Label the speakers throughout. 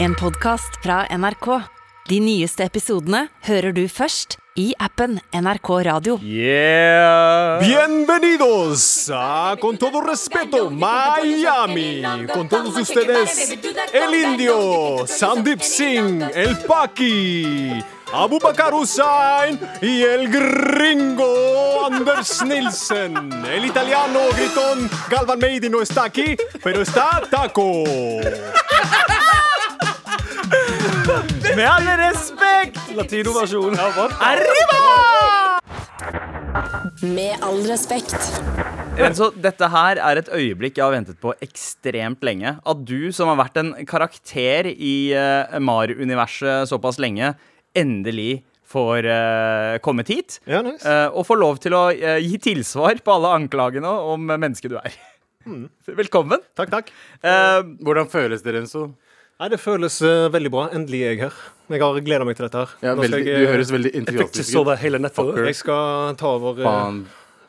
Speaker 1: En podcast fra NRK. De nyeste episodene hører du først i appen NRK Radio.
Speaker 2: Yeah!
Speaker 3: Bienvenidos a Con todo respeto Miami. Con todos ustedes, el indio, Sandeep Singh, el Paki, Abu Bakar Hussain y el gringo Anders Nielsen. El italiano gritón Galvan Meidi no está aquí, pero está Taco.
Speaker 2: Med all respekt! Latinoversjon. Arriba!
Speaker 4: Med all respekt.
Speaker 2: Men så, dette her er et øyeblikk jeg har ventet på ekstremt lenge. At du, som har vært en karakter i uh, MAR-universet såpass lenge, endelig får eh, kommet hit.
Speaker 3: Ja, nice.
Speaker 2: eh, og får lov til å eh, gi tilsvar på alle anklagene om eh, mennesket du er.
Speaker 5: Hmm.
Speaker 2: Velkommen.
Speaker 3: Takk, takk.
Speaker 2: Eh,
Speaker 5: Hvordan føles det, Renzo?
Speaker 3: Nei, det føles eh, veldig bra. Endelig er jeg her. Jeg har gleda meg til dette her.
Speaker 5: Ja,
Speaker 3: Nå skal
Speaker 5: veldig,
Speaker 3: jeg, eh,
Speaker 5: du høres veldig
Speaker 6: Ikke
Speaker 5: entusiastisk
Speaker 6: så
Speaker 5: ut.
Speaker 6: det hele nettet.
Speaker 3: jeg skal ta over eh,
Speaker 5: Faen.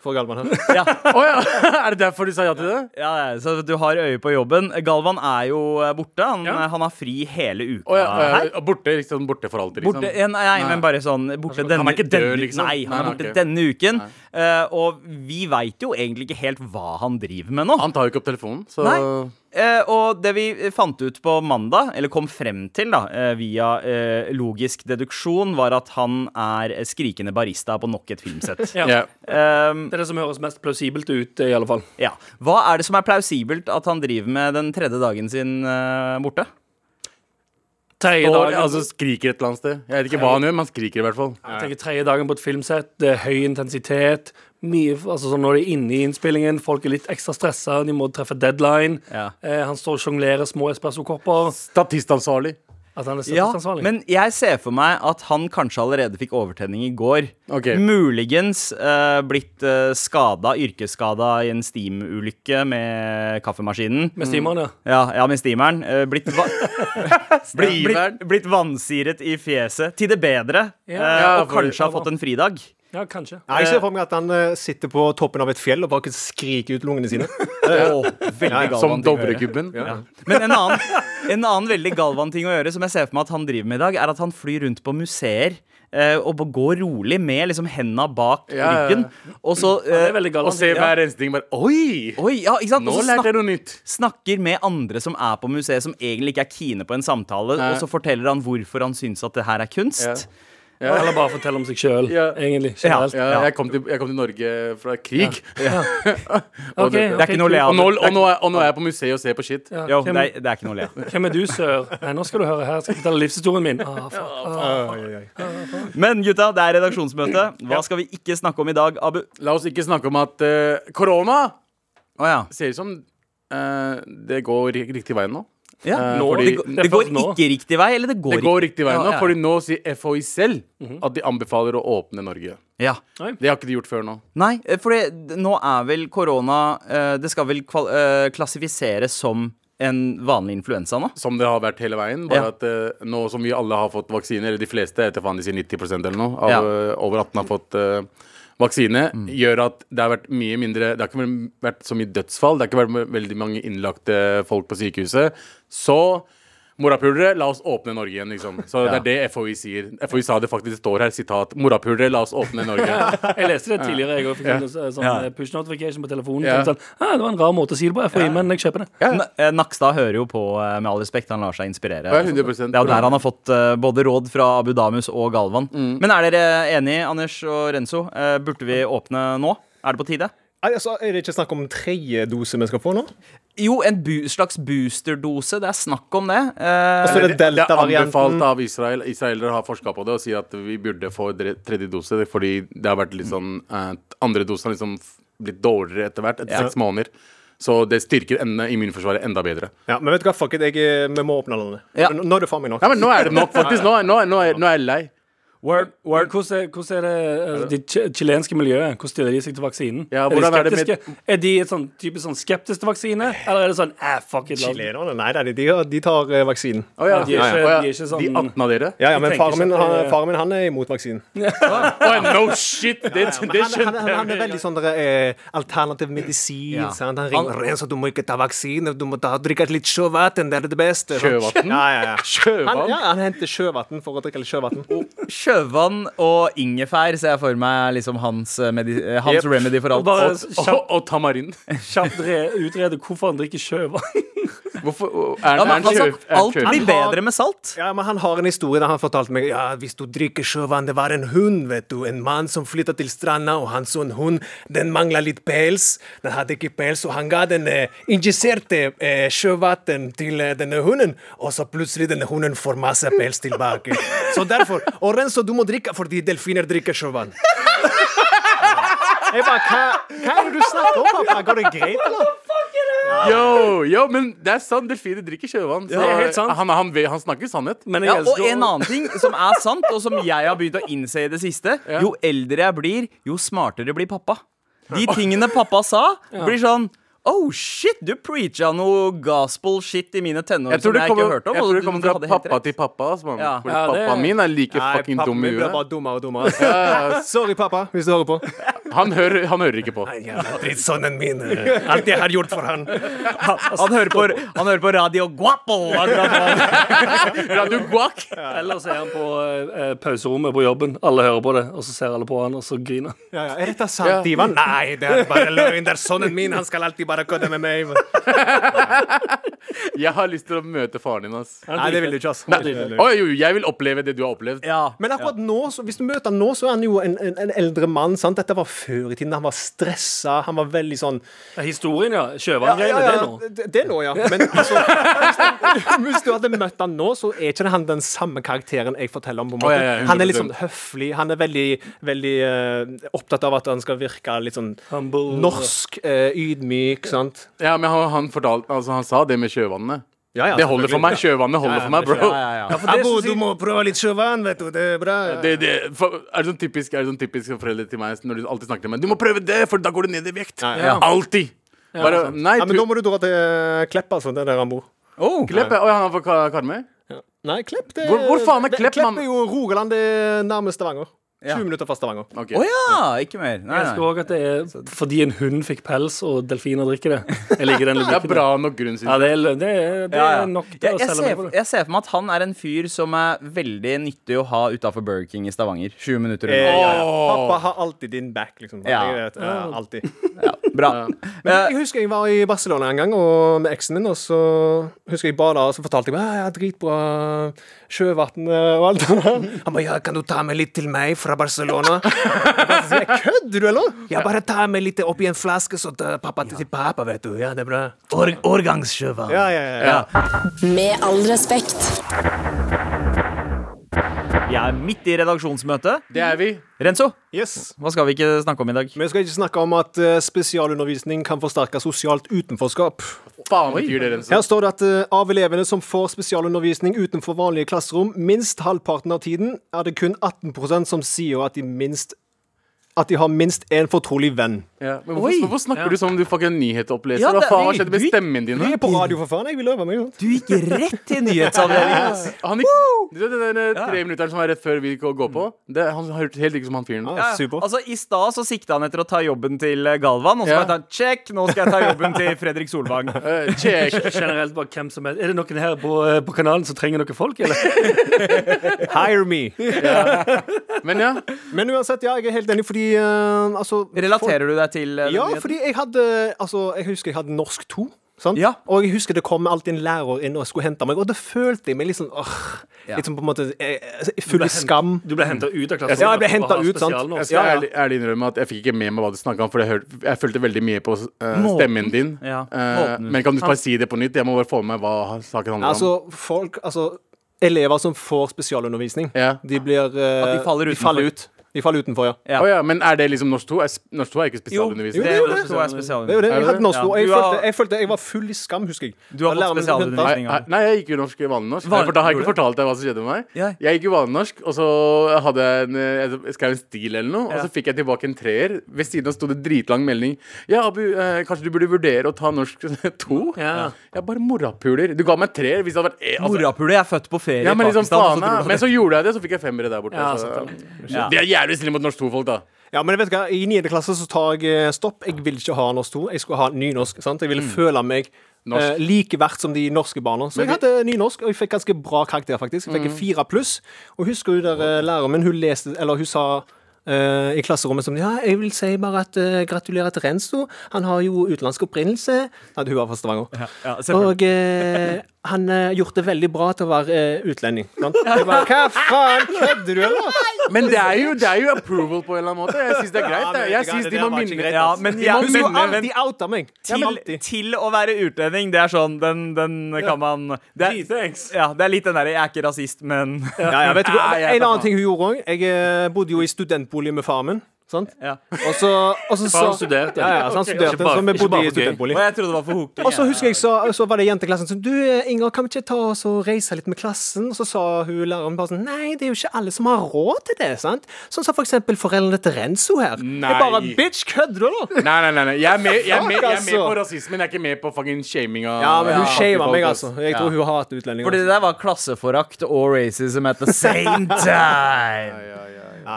Speaker 3: for Galvan her.
Speaker 6: Å ja. Er det derfor du sa ja til det?
Speaker 2: ja, ja, så du har øye på jobben. Galvan er jo eh, borte. Han,
Speaker 6: Ja.
Speaker 2: han har fri hele uka.
Speaker 5: Å ja, ja, borte, liksom, borte for alltid, liksom.
Speaker 2: Borte, ja, nei, men bare sånn borte denne,
Speaker 5: er ikke død,
Speaker 2: denne-
Speaker 5: liksom.
Speaker 2: Nei, han er
Speaker 5: Nei,
Speaker 2: borte
Speaker 5: ok.
Speaker 2: denne uken. eh, og vi veit jo egentlig ikke helt hva han driver med nå.
Speaker 5: Han tar jo ikke opp telefonen, så
Speaker 2: Nei. Eh, og det vi fant ut på mandag, eller kom frem til da, eh, via eh, logisk deduksjon, var at han er skrikende barista på nok et filmsett.
Speaker 6: Ja.
Speaker 5: Ja.
Speaker 2: Eh,
Speaker 6: Det er det som høres mest plausibelt ut, i alle fall.
Speaker 2: ja. Hva er det som er plausibelt at han driver med den tredje dagen sin eh, borte?
Speaker 6: Tredje
Speaker 5: Står,
Speaker 6: dagen,
Speaker 5: altså, skriker et eller annet sted. Jeg vet ikke hva han gjør, men han skriker i hvert fall.
Speaker 6: jeg tenker tredje dagen på et filmsett, det er høy intensitet. Mye, altså sånn Når de er inne i innspillingen, folk er litt ekstra stressa, de må treffe deadline.
Speaker 2: Ja.
Speaker 6: Eh, han står og sjonglerer små espressokopper.
Speaker 5: Statistansvarlig.
Speaker 6: At han er
Speaker 2: Ja,
Speaker 6: statistansvarlig.
Speaker 2: men jeg ser for meg at han kanskje allerede fikk overtenning i går.
Speaker 5: Ok.
Speaker 2: Muligens eh, blitt uh, skada, yrkesskada i en steamulykke med kaffemaskinen.
Speaker 6: med stimeren, ja.
Speaker 2: Ja, ja, med steameren. Eh, blitt, va blitt,
Speaker 5: Stimeren.
Speaker 2: blitt, blitt vansiret i fjeset. Til det bedre.
Speaker 6: Ja.
Speaker 2: Eh,
Speaker 6: Ja,
Speaker 2: og
Speaker 6: for-
Speaker 2: kanskje har fått en fridag.
Speaker 6: Ja, kanskje.
Speaker 3: Nei, Jeg ser for meg at han eh, sitter på toppen av et fjell og bare skriker ut lungene sine.
Speaker 2: Åh, veldig Galvan
Speaker 5: Som
Speaker 2: ting å gjøre.
Speaker 5: Dovregubben. Ja.
Speaker 2: Men en annen, en annen veldig Galvan-ting å gjøre, som jeg ser for meg at han driver med i dag, er at han flyr rundt på museer. eh, og bare går rolig med liksom henda bak
Speaker 5: Ja, ja, ja.
Speaker 2: ryggen. Og så
Speaker 6: Det
Speaker 2: eh,
Speaker 6: er veldig
Speaker 5: Og
Speaker 6: galt.
Speaker 5: se hver eneste ting bare Oi!
Speaker 2: Oi, ja, ikke sant?
Speaker 5: Nå
Speaker 2: Og så
Speaker 5: lærte
Speaker 2: snak
Speaker 5: jeg noe nytt.
Speaker 2: snakker med andre som er på museet, som egentlig ikke er kine på en samtale,
Speaker 5: Nei.
Speaker 2: og så forteller han hvorfor han syns at det her er kunst.
Speaker 6: Eller bare fortelle om seg sjøl,
Speaker 5: Ja.
Speaker 6: egentlig. Generelt.
Speaker 5: Ja,
Speaker 2: Ja.
Speaker 5: jeg, kom til, jeg kom til Norge fra krig.
Speaker 6: Ok,
Speaker 5: det-
Speaker 2: Det er
Speaker 6: ok,
Speaker 2: ikke noe å le
Speaker 6: kult.
Speaker 5: Og,
Speaker 2: av.
Speaker 5: nå, og, nå er, og nå er jeg på museet og ser på shit.
Speaker 6: Ja,
Speaker 2: Jo,
Speaker 6: hvem-
Speaker 2: det, er- det er ikke noe å le av.
Speaker 6: Hvem er du, sør? Nei, nå skal du høre her. Jeg skal fortelle livshistorien min. Ah, faen.
Speaker 2: Men gutta, det er redaksjonsmøte. Hva skal vi ikke snakke om i dag, Abu?
Speaker 5: La oss ikke snakke om at eh, korona
Speaker 2: Å ja.
Speaker 5: ser ut som eh, det går ri- riktig vei nå.
Speaker 2: ja.
Speaker 5: Eh,
Speaker 6: Nå,
Speaker 5: fordi-
Speaker 2: Det, går- det går ikke riktig vei, eller det går,
Speaker 5: Det går riktig vei
Speaker 2: Ja, ja.
Speaker 5: nå,
Speaker 2: Mhm.
Speaker 5: fordi nå sier FHI selv at de anbefaler å åpne Norge.
Speaker 2: Ja.
Speaker 5: Det har ikke de gjort før nå.
Speaker 2: Nei, for det, nå er vel korona eh, Det skal vel kval eh, klassifiseres som en vanlig influensa nå?
Speaker 5: Som det har vært hele veien. Bare
Speaker 2: Ja.
Speaker 5: at eh, nå som vi alle har fått vaksine, eller de fleste, etter faen de sier 90 eller noe, av
Speaker 2: Ja. Mm.
Speaker 5: eh, over 18 har fått eh, vaksine, gjør at det har vært mye mindre Det har ikke vært så mye dødsfall. Det har ikke vært veldig mange innlagte folk på sykehuset. Så Morapulere, la oss åpne Norge igjen, liksom. Så
Speaker 2: Ja.
Speaker 5: det er det FHI sier. FHI sa det faktisk, det står her, sitat. Morapulere, la oss åpne Norge.
Speaker 6: Jeg leste det tidligere. Jeg og fikk en sånn
Speaker 2: Ja.
Speaker 6: eh, push notification på telefonen.
Speaker 5: Ja.
Speaker 6: Sånn, ah, det var en rar måte å si det på, FHI, men jeg kjøper det.
Speaker 2: N- eh, Nakstad hører jo på eh, med all respekt. Han lar seg inspirere.
Speaker 5: Ja, 100%.
Speaker 2: Det er jo der han har fått eh, både råd fra Abu Damus og Galvan. Men er dere enige, Anders og Renzo? Eh, Burde vi åpne nå? Er det på tide?
Speaker 3: Nei, altså, Er det ikke snakk om tredje dose vi skal få nå?
Speaker 2: Jo, en bu slags boosterdose. Det er snakk om det. Eh,
Speaker 3: Altså, det er
Speaker 5: Det er anbefalt
Speaker 3: delta-varianten.
Speaker 5: av Israel. Israelere har forska på det og sier at vi burde få dre- tredje dose det er fordi det har vært litt sånn eh, Andre dosen har liksom f- blitt dårligere etter hvert, etter seks måneder. Så det styrker enda, immunforsvaret enda bedre.
Speaker 3: Ja, men vet du hva, fuck it, jeg, eh, vi må åpne landet.
Speaker 2: Ja.
Speaker 3: Nå nå er det faen meg nok.
Speaker 5: Nei, men Nå er det nok, faktisk. Nå er, nå er, nå er, nå er jeg lei.
Speaker 2: Word, word.
Speaker 6: Hvordan er, hvordan er det altså, det chi- chilenske miljøet? Hvordan stiller de seg til vaksinen?
Speaker 5: Ja,
Speaker 6: er, de
Speaker 5: hvordan er det med-
Speaker 6: skeptiske? er de et sånn typisk sånn skeptisk til vaksine, eller er det sånn eh, fuck it, la oss
Speaker 7: Chilenerne? Nei da, de, de, har- de tar eh, vaksinen.
Speaker 5: Å ja,
Speaker 6: de er
Speaker 5: å
Speaker 6: ikke-
Speaker 5: ja.
Speaker 6: de er ikke sånn-
Speaker 5: De 18 av dere?
Speaker 7: Ja, ja, men
Speaker 6: tenker
Speaker 7: faren
Speaker 6: ikke
Speaker 7: min,
Speaker 6: at
Speaker 7: han,
Speaker 6: det-
Speaker 7: faren min han er imot vaksinen.
Speaker 5: Å, no shit! Det, det
Speaker 7: Han, han,
Speaker 5: skjønte
Speaker 7: han,
Speaker 5: jeg.
Speaker 7: han er veldig sånn der, eh, alternativ medisin.
Speaker 2: Ja.
Speaker 7: Sant? Han ringer og renser, du må ikke ta vaksine, du må ta, drikke litt sjøvann, det er det beste.
Speaker 5: Sjøvann?
Speaker 7: Ja, ja, ja. Han,
Speaker 5: Sjøvann?
Speaker 7: ja, han henter sjøvann for å drikke litt sjøvann.
Speaker 2: Sjøvann og ingefær ser jeg for meg liksom hans, eh, medi eh, hans
Speaker 5: Yep.
Speaker 2: remedy for alt.
Speaker 6: Bare
Speaker 2: Og-
Speaker 5: Og,
Speaker 6: kjapt,
Speaker 5: og tamarind.
Speaker 6: kjapt re- utrede hvorfor han drikker sjøvann.
Speaker 5: Hvorfor er,
Speaker 2: ja,
Speaker 5: er,
Speaker 2: men,
Speaker 5: er,
Speaker 2: altså, alt
Speaker 5: er,
Speaker 2: blir bedre med salt.
Speaker 7: Ja, men Han har en historie der han fortalte meg Ja, hvis du drikker sjøvann Det var en hund, vet du. En mann som flytta til stranda, og han så en hund. Den mangla litt pels. Den hadde ikke pels, og han ga den eh, injiserte eh, sjøvann til eh, denne hunden. Og så plutselig denne hunden får masse pels tilbake. Så derfor Og Renzo, du må drikke fordi delfiner drikker sjøvann. Jeg bare, hva, hva er det du snakker om, pappa? Går det greit, eller?
Speaker 5: Yo, yo, men det er sant. Delfiner drikker sjøvann. så
Speaker 6: det er helt sant.
Speaker 5: Han, han, han snakker sannhet.
Speaker 6: Men jeg
Speaker 2: Ja, og
Speaker 6: elsker å-
Speaker 2: en annen ting som er sant, og som jeg har begynt å innse i det siste.
Speaker 5: Ja.
Speaker 2: Jo eldre jeg blir, jo smartere blir pappa. De tingene pappa sa, blir sånn Oh shit, du preacha noe gospel shit i mine tenår
Speaker 5: Jeg
Speaker 2: som
Speaker 5: tror det
Speaker 2: jeg ikke
Speaker 5: kommer,
Speaker 2: hørte om.
Speaker 5: jeg
Speaker 2: og
Speaker 5: tror det
Speaker 2: du-
Speaker 5: kommer
Speaker 2: du
Speaker 5: fra
Speaker 2: hadde helt
Speaker 5: pappa
Speaker 2: rett.
Speaker 5: til pappa. ass, mann.
Speaker 2: Ja.
Speaker 5: Fordi
Speaker 6: Ja, det-
Speaker 5: pappaen min er like fucking
Speaker 7: pappa
Speaker 5: dum i
Speaker 7: min blir
Speaker 5: huet.
Speaker 7: bare dummere og dummere. Sorry, pappa, hvis du hører på.
Speaker 5: Han, hører- han hører ikke på.
Speaker 7: Jævla drittsønnen min. eh, Alt jeg har gjort for han.
Speaker 2: Han hører på, han hører på Radio Guapo! akkurat nå.
Speaker 5: Radio Guac!
Speaker 6: Eller så er han på eh, eh, pauserommet på jobben. Alle hører på det, og så ser alle på han, og så griner han.
Speaker 7: Ja, ja. Er dette sant, Ivan? Nei, det er bare løgn. Det er sønnen min. Han skal alltid bare kødde med meg.
Speaker 5: Jeg har lyst til å møte faren din. ass
Speaker 7: Nei, det vil du ikke, ass.
Speaker 5: Å, jo, jeg vil oppleve det du har opplevd.
Speaker 2: Ja.
Speaker 7: Men akkurat nå, så, hvis du møter han nå, så er han jo en, en, en eldre mann. sant? Dette var før i tiden. Han var stressa. Han var veldig sånn
Speaker 6: Ja, Historien, ja. Sjøvanngreiene, det nå.
Speaker 7: det, det er nå, ja. Men altså, hvis, du, hvis du hadde møtt han nå, så er ikke det han den samme karakteren jeg forteller om. på en måte.
Speaker 5: Å, ja, ja,
Speaker 7: han er litt sånn
Speaker 5: 100%.
Speaker 7: høflig. Han er veldig, veldig eh, opptatt av at han skal virke litt sånn
Speaker 6: Humble.
Speaker 7: norsk, eh, ydmyk, sant?
Speaker 5: Ja, men han, han, fortalte, altså, han sa det med sjøvannet.
Speaker 7: Ja, ja,
Speaker 5: det holder for meg. Sjøvannet holder for meg, bro.
Speaker 7: Abo, du må prøve litt sjøvann, vet du. Det er bra.
Speaker 5: Det, det, for, er det sånn typisk, er det sånn typisk foreldre til meg når de alltid snakker til meg 'Du må prøve det, for da går du ned i vekt'.
Speaker 7: ja.
Speaker 5: Alltid! Bare, nei,
Speaker 7: ja,
Speaker 5: du,
Speaker 7: men da må du dra til eh, Klepp, altså. Det der, Abo.
Speaker 2: Oh.
Speaker 5: Klepp er- Å, ja, han er fra Ka- Karmøy?
Speaker 7: Nei, Klepp det
Speaker 5: Hvor- hvor faen er
Speaker 7: det-
Speaker 5: Klepp,
Speaker 7: Klepp
Speaker 5: mann?
Speaker 7: er jo Rogaland, det er nærmest Stavanger. 20
Speaker 2: Ja.
Speaker 7: minutter fra Stavanger.
Speaker 5: Ok.
Speaker 2: Å ja! Ikke mer. Nei,
Speaker 6: Jeg elsker
Speaker 2: nei.
Speaker 6: også at det er fordi en hund fikk pels, og delfiner drikker det. Jeg liker den
Speaker 5: Det er
Speaker 6: logikken.
Speaker 5: bra nok grunn, synes
Speaker 6: Ja,
Speaker 5: jeg.
Speaker 6: det er, det er, det
Speaker 2: Ja, ja.
Speaker 6: er nok til
Speaker 2: Jeg,
Speaker 6: å
Speaker 2: jeg,
Speaker 6: selge meg
Speaker 2: ser,
Speaker 6: på det.
Speaker 2: jeg ser for meg at han er en fyr som er veldig nyttig å ha utafor Burger King i Stavanger. 20 minutter
Speaker 7: Eh,
Speaker 2: unna.
Speaker 7: ja, ja.
Speaker 5: Åh.
Speaker 7: Pappa har alltid din back, liksom.
Speaker 2: Ja.
Speaker 7: Jeg vet, ja, alltid.
Speaker 2: Bra. Eh,
Speaker 7: Jeg husker jeg var i Barcelona en gang og med eksen min, og så husker jeg bada, og så fortalte jeg meg ja, dritbra sjøvann eh, og alt det der. Han bare ja, kan du ta med litt til meg fra Barcelona? Jeg bare, sier jeg, Kødder du, eller? Ja, bare ta med litt oppi en flaske, så tar pappa til pappa, vet du. Ja, det er bra. År, årgangssjøvann. Ja, ja, ja.
Speaker 4: Med all respekt.
Speaker 2: Vi er midt i redaksjonsmøte.
Speaker 5: Det er vi.
Speaker 2: Renzo,
Speaker 7: Yes.
Speaker 2: hva skal vi ikke snakke om i dag?
Speaker 7: Vi skal ikke snakke om at eh, spesialundervisning kan forsterke sosialt utenforskap.
Speaker 5: Faen, betyr det Renzo?
Speaker 7: Her står det at eh, av elevene som får spesialundervisning utenfor vanlige klasserom minst halvparten av tiden, er det kun 18 som sier at de minst at de har minst én fortrolig venn.
Speaker 5: Ja. Men hvorfor, hvorfor snakker du som om du fucking nyhetsoppleser?
Speaker 2: Ja,
Speaker 5: Hva
Speaker 2: det-
Speaker 5: faen har skjedd med
Speaker 2: du-
Speaker 5: stemmen din?
Speaker 7: Vi
Speaker 5: da?
Speaker 7: er på radio, for faen. Jeg vil øve meg. jo.
Speaker 2: Du gikk rett til nyhetsavdelingen.
Speaker 5: Han gikk, du vet den der eh, tre minutteren som er rett før vi går går på? Det, han har hørt helt ikke som han fyren.
Speaker 7: Ja, super.
Speaker 2: Altså, I stad så sikta han etter å ta jobben til eh, Galvan. Og så
Speaker 5: Ja.
Speaker 2: bare ta check, nå skal jeg ta jobben til Fredrik Solvang.
Speaker 5: Eh, check.
Speaker 6: Generelt bare hvem som helst. Er det noen her på, eh, på kanalen som trenger noen folk, eller?
Speaker 7: Hire me.
Speaker 5: Men ja.
Speaker 7: Men uansett, ja, jeg er helt enig, fordi eh, altså
Speaker 2: Relaterer du deg til eh, den
Speaker 7: Ja,
Speaker 2: nyheten?
Speaker 7: fordi jeg hadde Altså, jeg husker jeg hadde norsk 2. Sant?
Speaker 2: Ja.
Speaker 7: Og jeg husker det kom alltid en lærer inn og skulle hente meg, og da følte jeg meg litt sånn åh, Litt sånn på en måte eh, Full i skam.
Speaker 6: Du ble henta ut av klasserommet.
Speaker 7: Ja, jeg ble hentet
Speaker 6: for å ha
Speaker 7: ut, sant.
Speaker 5: Jeg
Speaker 6: spesialnorsk.
Speaker 5: skal
Speaker 7: Ja, ja.
Speaker 5: ærlig, ærlig innrømme at jeg fikk ikke med meg hva du snakka om, for jeg, hørte, jeg følte veldig mye på eh,
Speaker 2: Måten.
Speaker 5: stemmen din.
Speaker 2: Ja,
Speaker 5: Eh,
Speaker 2: måten.
Speaker 5: men kan du bare si det på nytt? Jeg må bare få med meg hva saken handler om.
Speaker 7: Altså, folk Altså, elever som får spesialundervisning,
Speaker 5: Ja.
Speaker 7: de blir eh,
Speaker 2: At de faller utenfor.
Speaker 7: faller ut. De faller utenfor, ja.
Speaker 2: Ja.
Speaker 5: Å ja, men er det liksom norsk 2? Er, sp- norsk 2 er ikke
Speaker 7: Jo,
Speaker 5: spesialundervisning.
Speaker 7: det er jo det.
Speaker 2: tror jeg er
Speaker 7: Det er jo det.
Speaker 5: Er
Speaker 7: Jeg
Speaker 5: det
Speaker 7: hadde
Speaker 5: det?
Speaker 7: norsk nå, og jeg,
Speaker 2: Ja, du har-
Speaker 7: følte, jeg følte jeg var full i skam, husker jeg.
Speaker 2: Du har
Speaker 7: Da
Speaker 2: fått
Speaker 7: læreren min hentet-
Speaker 5: Nei,
Speaker 2: spesialundervisning.
Speaker 5: nei, nei, jeg gikk jo norsk i vanlig norsk.
Speaker 2: Vanlig-
Speaker 5: for da har jeg ikke
Speaker 2: gjorde
Speaker 5: fortalt deg hva som skjedde med meg.
Speaker 2: Ja.
Speaker 5: Jeg gikk i vanlig norsk, og så hadde jeg en, eh, jeg skrev en stil eller noe, og
Speaker 2: Ja.
Speaker 5: så fikk jeg tilbake en treer. Ved siden av sto det dritlang melding. Ja, Abu, eh, kanskje du burde vurdere å ta norsk 2?
Speaker 6: Ja.
Speaker 5: Jeg bare morapuler. Du ga meg treer hvis det hadde vært e, altså-
Speaker 2: Morapuler, jeg er født på ferie
Speaker 5: Ja, men
Speaker 2: i
Speaker 5: liksom,
Speaker 2: Pakistan.
Speaker 5: faen, ja.
Speaker 2: så tror du-
Speaker 5: men så gjorde jeg det, så fikk jeg femmere der borte.
Speaker 6: Ja,
Speaker 5: så.
Speaker 6: sant,
Speaker 5: Ja. De er jævlig snille mot norsk 2-folk, da.
Speaker 7: Ja, men vet du hva, I 9. klasse så tar jeg eh, stopp. Jeg vil ikke ha norsk 2. Jeg skulle ha nynorsk. sant? Jeg ville
Speaker 2: Mm.
Speaker 7: føle meg
Speaker 5: Norsk.
Speaker 7: eh, like verdt som de norske barna. Så
Speaker 5: Men
Speaker 7: jeg hadde nynorsk, og jeg fikk ganske bra karakter, faktisk. Jeg
Speaker 2: Mm.
Speaker 7: fikk en fire pluss. Og husker du der eh, læreren min, hun leste Eller hun sa eh, i klasserommet som Ja, jeg vil si bare at eh, gratulerer til Renzo. Han har jo utenlandsk opprinnelse. Nei, hun var fra Stavanger.
Speaker 2: ja, selvfølgelig.
Speaker 7: Og eh, han eh, gjorde det veldig bra til å være eh, utlending. Sant? Jeg bare, Hva faen kødder du, eller?
Speaker 5: Men det er, jo, det er jo approval på en eller annen måte. Jeg syns det er greit.
Speaker 7: men
Speaker 5: det. Jeg
Speaker 7: det er
Speaker 5: synes de
Speaker 7: greit,
Speaker 5: må
Speaker 7: det var ikke
Speaker 5: minne
Speaker 7: greit.
Speaker 2: ja, men
Speaker 5: altså.
Speaker 2: jeg,
Speaker 7: Hun skulle
Speaker 2: men,
Speaker 7: alltid outa meg.
Speaker 2: til, til å være utlending, det er sånn Den, den kan man det er,
Speaker 6: Dritengs.
Speaker 2: ja, det er litt den derre 'jeg er ikke rasist, men'
Speaker 7: Ja, ja, vet du, hva?
Speaker 5: Ja, jeg
Speaker 7: en
Speaker 5: vet
Speaker 7: annen
Speaker 5: hva.
Speaker 7: ting hun gjorde òg. Jeg eh, bodde jo i studentbolig med faren min. Sant?
Speaker 2: ja.
Speaker 7: Og så, og så sa-
Speaker 6: Faren studerte.
Speaker 7: Ja, ja, så han
Speaker 6: Ok,
Speaker 7: studerte,
Speaker 6: ikke bare-
Speaker 7: så vi
Speaker 6: ikke bare
Speaker 7: bodde i
Speaker 6: for gøy.
Speaker 7: studentbolig.
Speaker 2: Og jeg trodde det var for hoking.
Speaker 7: Og så
Speaker 2: jeg.
Speaker 7: husker jeg så, så var det jenteklassen som Du, eh, Inger, kan vi ikke ta oss og reise litt med klassen? Og så sa hun læreren bare sånn Nei, det er jo ikke alle som har råd til det, sant? Sånn som for eksempel foreldrene til Renzo her.
Speaker 5: Nei.
Speaker 7: Jeg bare Bitch, kødder du, eller?
Speaker 5: Nei, nei, nei, nei. Jeg, er med, jeg, er med, jeg er med
Speaker 7: altså.
Speaker 5: på rasismen. Jeg er ikke med på fucking shaming av
Speaker 7: Ja, men hun
Speaker 5: av
Speaker 7: shama
Speaker 5: folk,
Speaker 7: meg,
Speaker 5: ass.
Speaker 7: altså. Jeg tror hun hater utlendinger.
Speaker 2: Fordi det der var klasseforakt og racism at the same time.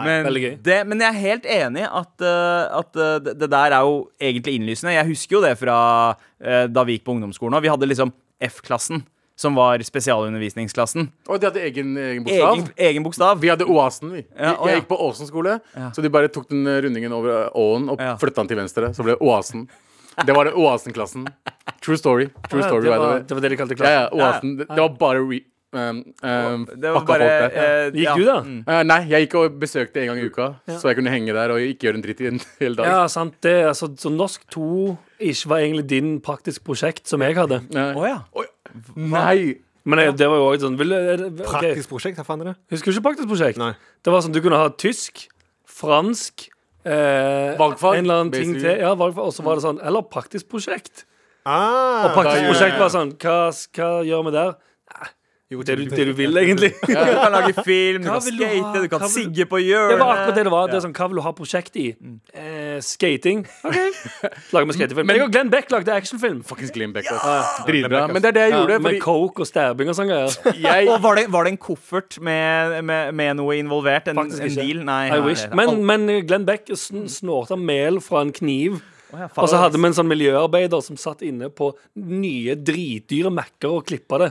Speaker 2: Men,
Speaker 6: veldig gøy.
Speaker 2: det, men jeg er helt enig at, eh, at eh, det, det der er jo egentlig innlysende. Jeg husker jo det fra eh, da vi gikk på ungdomsskolen. Og vi hadde liksom F-klassen, som var spesialundervisningsklassen.
Speaker 5: Og de hadde egen, egen bokstav.
Speaker 2: Egen, egen bokstav.
Speaker 5: Vi hadde Oasen, vi.
Speaker 2: Ja, å,
Speaker 5: jeg
Speaker 2: ja.
Speaker 5: gikk på Åsen skole, så de bare tok den eh, rundingen over eh, åen og
Speaker 2: Ja.
Speaker 5: flytta den til venstre. Så ble det Oasen. Det var det Oasen-klassen. True story. True story,
Speaker 6: det,
Speaker 5: by the
Speaker 6: var,
Speaker 5: way.
Speaker 6: det var det de kalte
Speaker 5: Ja,
Speaker 6: klassen.
Speaker 5: ja, Oasen. Det, det var bare re... Um, um,
Speaker 2: Det var
Speaker 5: fucka
Speaker 2: bare
Speaker 5: folk der.
Speaker 2: eh,
Speaker 6: Gikk
Speaker 2: ja.
Speaker 6: du, da?
Speaker 5: Eh, nei, jeg gikk og besøkte en gang i uka, så jeg kunne henge der og ikke gjøre en dritt i en hel dag.
Speaker 6: Ja, sant det. Altså, så norsk 2 ikke var egentlig din praktisk prosjekt som jeg hadde.
Speaker 5: Nei.
Speaker 2: Å, ja.
Speaker 5: Oi. Nei!
Speaker 6: Men det, det var jo også sånn vil, du- ok,
Speaker 7: Praktisk prosjekt, hva faen er det?
Speaker 6: Husker du ikke praktisk prosjekt?
Speaker 7: Nei.
Speaker 6: Det var sånn, Du kunne ha tysk, fransk eh,
Speaker 5: Valgfag,
Speaker 6: En eller annen ting
Speaker 5: basically.
Speaker 6: til. Ja, valgfag. Og så var det sånn Eller praktisk prosjekt.
Speaker 7: Ah,
Speaker 6: Og
Speaker 5: ja,
Speaker 6: praktisk
Speaker 5: ja,
Speaker 6: prosjekt
Speaker 5: ja.
Speaker 6: var sånn Hva, hva gjør vi der?
Speaker 7: jo,
Speaker 6: Det du, det du vil, egentlig.
Speaker 2: Du kan lage film, du
Speaker 6: Hva
Speaker 2: kan
Speaker 6: vil du ha?
Speaker 2: skate, du kan
Speaker 6: Hva vil-
Speaker 2: sigge på hjørnet.
Speaker 6: Det var akkurat det det var. Det er sånn, Hva vil du ha prosjekt i?
Speaker 5: Mm.
Speaker 6: Eh, skating. OK. Lager vi skatefilm. Men jeg og Glenn Beck lagde actionfilm.
Speaker 5: Fuckings Glenn Beck, ass. Dritbra. Men det er det jeg
Speaker 6: Ja,
Speaker 5: gjorde.
Speaker 6: med coke og stabbing og sånn greier.
Speaker 5: fordi jeg
Speaker 2: Og var det, var det en koffert med, med, med noe involvert? En,
Speaker 6: Faktisk
Speaker 2: en
Speaker 6: ikke.
Speaker 2: deal? Nei.
Speaker 6: I
Speaker 2: nei,
Speaker 6: wish.
Speaker 2: det-
Speaker 6: Men, men Glenn Beck
Speaker 5: Mm.
Speaker 6: sn snorta mel fra en kniv.
Speaker 2: Å, ja, faen.
Speaker 6: Og så hadde vi en sånn miljøarbeider som satt inne på nye dritdyre Mac-er og klippa det.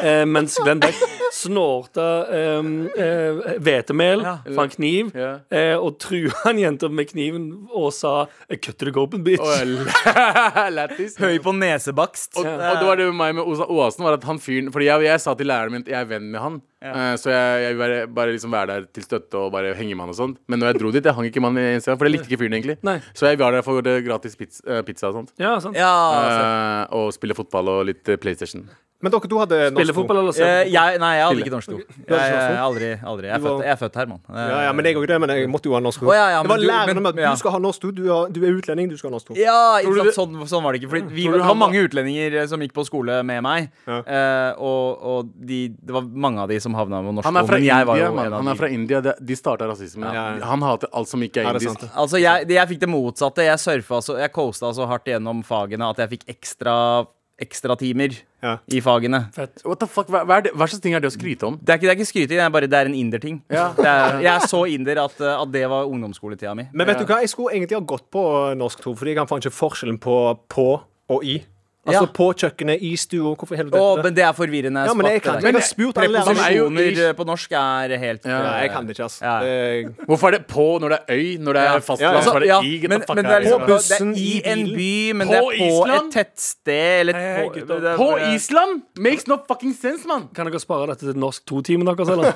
Speaker 6: Eh, mens Glenn Beck snorta eh, eh, hvetemel
Speaker 2: Ja.
Speaker 6: fra en kniv
Speaker 5: Ja.
Speaker 6: eh, og trua en jente med kniven og sa eh, 'Cut to the open, bitch'.
Speaker 5: Å, jeg- Lættis.
Speaker 2: Høy på nesebakst. Eh,
Speaker 5: Og, og det var det med meg med Osa Oasen var at han fyren Fordi jeg, jeg sa til læreren min at jeg er venn med han. eh, så jeg, jeg vil bare, bare liksom være der til støtte og bare henge med han og sånt. Men når jeg dro dit, jeg hang ikke med han i eneste gang, for jeg likte ikke fyren egentlig.
Speaker 6: Nei.
Speaker 5: Så jeg var der for eh, gratis pizza, eh, pizza og sånt.
Speaker 6: Ja, sant.
Speaker 2: Ja, altså.
Speaker 5: Eh, og spille fotball og litt eh, PlayStation.
Speaker 7: Men dere to hadde
Speaker 6: Spille
Speaker 7: norsk to.
Speaker 6: fotball eller se?
Speaker 2: Eh, jeg, nei, jeg hadde ikke norsk do. Jeg,
Speaker 7: hadde ikke
Speaker 2: jeg,
Speaker 7: norsk
Speaker 2: aldri, aldri. Jeg er
Speaker 7: Du var-
Speaker 2: født, jeg er født her, mann.
Speaker 7: Ja, ja, men jeg òg det. Men jeg måtte jo ha norsk to.
Speaker 2: Å, ja, ja,
Speaker 7: det
Speaker 2: men
Speaker 7: var
Speaker 2: du-
Speaker 7: læreren
Speaker 2: men-
Speaker 7: om at
Speaker 2: ja.
Speaker 7: du skal ha norsk to. Du, har, du er utlending, du skal ha norsk to.
Speaker 2: Eh, Ja, ikke
Speaker 5: Tror du
Speaker 2: sant? sånn, sånn var det ikke. Fordi vi,
Speaker 5: Tror du
Speaker 2: det var
Speaker 5: han
Speaker 2: mange utlendinger eh, som gikk på skole med meg.
Speaker 7: Ja.
Speaker 2: eh, og og de, det var mange av de som havna med norsk
Speaker 5: Han er
Speaker 2: do,
Speaker 5: fra
Speaker 2: men jeg var
Speaker 5: India.
Speaker 2: jo
Speaker 5: mann.
Speaker 2: en av
Speaker 5: Han er
Speaker 2: de.
Speaker 5: fra India De, de starta rasismen.
Speaker 7: Ja, ja.
Speaker 5: Han hater alt som ikke
Speaker 7: Ja,
Speaker 5: er
Speaker 7: det er
Speaker 5: indisk.
Speaker 7: sant.
Speaker 2: Altså, jeg, det- jeg fikk det motsatte. Jeg surfa så Jeg coasta så hardt gjennom fagene at jeg fikk ekstra ekstratimer
Speaker 7: Ja.
Speaker 2: i fagene.
Speaker 5: What the fuck, hva, hva, er det, hva slags ting er det å skryte om?
Speaker 2: Det er ikke, det er ikke skryting, det er bare det er en inderting. Det er- Jeg er så inder at, eh, at det var ungdomsskoletida mi.
Speaker 7: Men vet du hva, jeg skulle egentlig ha gått på norsk 2, fordi jeg kan faen ikke forskjellen på på og i. Altså
Speaker 2: Ja.
Speaker 7: på kjøkkenet, i stua, hvorfor i helvete?
Speaker 2: Å, men det er forvirrende.
Speaker 7: ja,
Speaker 2: spott,
Speaker 7: men jeg kan
Speaker 2: det
Speaker 7: ikke.
Speaker 2: der.
Speaker 7: Jeg har spurt alle
Speaker 5: Men
Speaker 7: lærerne.
Speaker 5: preposisjon- er jo
Speaker 2: Preposisjoner
Speaker 5: ish.
Speaker 2: eh, på norsk er helt
Speaker 7: Nei,
Speaker 2: eh,
Speaker 7: jeg kan det ikke, altså.
Speaker 2: Ja.
Speaker 7: Det-
Speaker 5: Hvorfor er det på når det er øy? Når det
Speaker 2: Ja. Altså,
Speaker 5: er fastland,
Speaker 7: Ja,
Speaker 5: så er det
Speaker 2: ja,
Speaker 5: i? Get the
Speaker 2: men,
Speaker 5: fuck
Speaker 2: men det er
Speaker 5: out of
Speaker 2: liksom,
Speaker 5: here.
Speaker 7: På bussen,
Speaker 2: det er i
Speaker 7: i
Speaker 2: en
Speaker 7: bilen.
Speaker 2: by, men
Speaker 5: På
Speaker 2: det er på
Speaker 5: Island?
Speaker 2: et tettsted eller
Speaker 6: Hei, hei,
Speaker 2: på,
Speaker 6: gutta.
Speaker 2: det er-
Speaker 5: På Island? Makes no fucking sense, mann!
Speaker 6: Kan dere spare dette til norsk to-timen deres, eller?